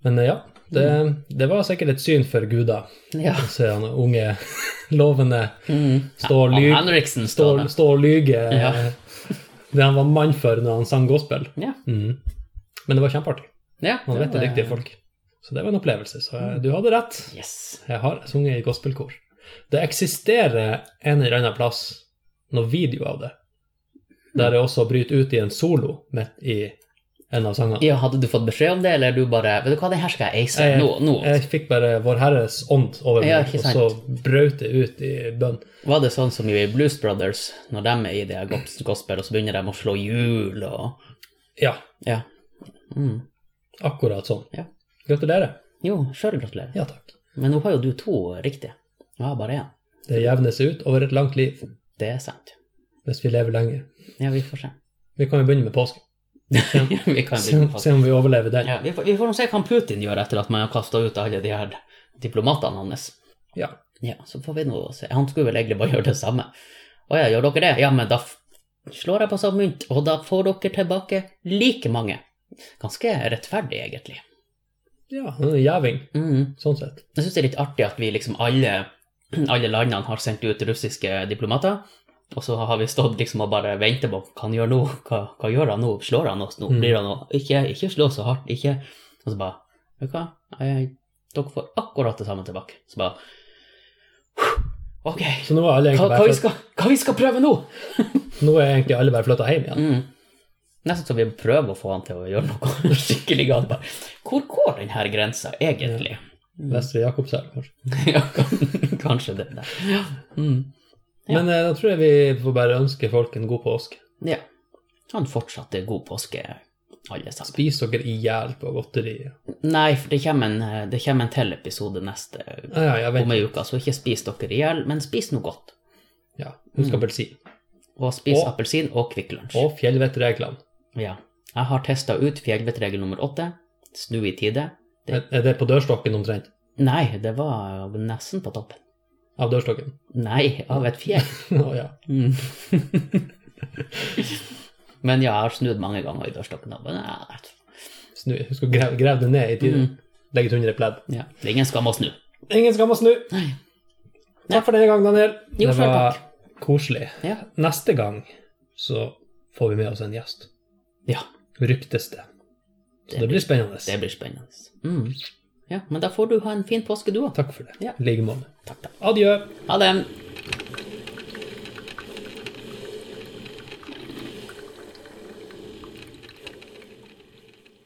Men eh, ja, det, det var sikkert et syn for guda.
ja.
å Se han unge, lovende,
Mm.
stå og
Han
lyge.
Henriksen står
Stå,
der.
stå og lyge.
Ja.
eh, Det han var mann for når han sang gospel.
Ja.
Mhm. Men det var kjempeartig.
ja.
Han vet det
var-
er dyktige folk. Så det var en opplevelse. Så eh, du hadde rett.
Yes.
Jeg har sunget i gospelkor. Det eksisterer en eller annen plass noen video av det, der jeg også bryter ut i en solo midt i en av sangene.
Ja, hadde du fått beskjed om det, eller du bare Vet du hva, den her skal jeg ace
Jeg-
nå. nå.
Jeg fikk bare Vår Herres ånd over
Ja,
meg,
ikke
og så brøt jeg ut i bønn.
Var det sånn som i Blues Brothers, når de er i det her gos- gospel, og så begynner de å slå hjul og
Ja,
Ja. Mm.
akkurat sånn.
Ja.
Gratulerer.
Jo, sjøl gratulerer.
Ja takk.
Men nå har jo du to riktige. Jeg har bare én.
Det jevner seg ut over et langt liv
Det er sant.
hvis vi lever lenge.
Ja, vi får se.
Vi kan jo begynne med påsken.
vi kan
Se, om- se om vi overlever den.
ja, vi får, vi får nå se hva Putin gjør etter at man har kasta ut alle de her diplomatene hans.
Ja.
Ja, så får vi nå se. Han skulle vel egentlig bare gjøre det samme. Å ja, gjør dere det? Ja, men da f- slår jeg på samme mynt, og da får dere tilbake like mange. Ganske rettferdig, egentlig.
Ja, det er en Gjeving,
Mhm.
sånn sett.
Jeg syns det er litt artig at vi liksom alle, alle landene har sendt ut russiske diplomater, og så har vi stått liksom og bare ventet på hva han gjør nå, hva, hva gjør han nå, slår han oss nå,
Mm.
blir han nå ikke, ikke slå så hardt, ikke Og så bare Vet du hva, jeg, dere får akkurat det samme tilbake. Så bare Ok,
Så nå er, alle
hva,
egentlig
hva,
bare
vi
flytt,
skal, hva vi skal prøve nå?
nå er egentlig alle bare flytta hjem igjen.
Mm. Nesten så vi prøver å få han til å gjøre noe skikkelig galt. Bare, Hvor går den her grensa egentlig? Mm.
Vestre Jakobselv, kanskje.
Ja, kan- kanskje det. Der. Ja. Mm. Ja.
Men eh, da tror jeg vi får bare ønske folk en god påske.
ja. Han fortsatte god påske, alle sammen.
Spis dere i hjel på godteri.
Nei, for det kommer en, det kommer en til episode neste
Ja, ja, jeg
om
vet.
ei uke, så ikke spis dere i hjel, men spis noe godt.
Ja, husk
Mm.
appelsin.
Og spis
Og-
appelsin og Kvikk Lunsj.
Og fjellvettreglene.
Ja. Jeg har testa ut fjellvettregel nummer åtte. Snu i tide.
Er er det på dørstokken omtrent?
Nei, det var nesten på toppen.
Av dørstokken?
Nei, av et fjell.
Å ja.
Mm. men ja, jeg har snudd mange ganger i dørstokken. og bare, nei,
Snu. Husk å grave, grave det ned i tide.
Mm.
Legge et under i pledd.
Ja. Det er ingen skam å snu.
Ingen skam å snu! Takk for denne gang, Daniel.
Jo,
det
selv
var koselig.
Ja.
Neste gang så får vi med oss en gjest.
Ja.
Ryktes det.
Det
Så det blir spennende.
Det blir spennende. Mm. Ja, men da får du ha en fin påske, du òg.
Takk for det.
Ja.
I like måte.
Takk, takk.
Adjø.
Ha det.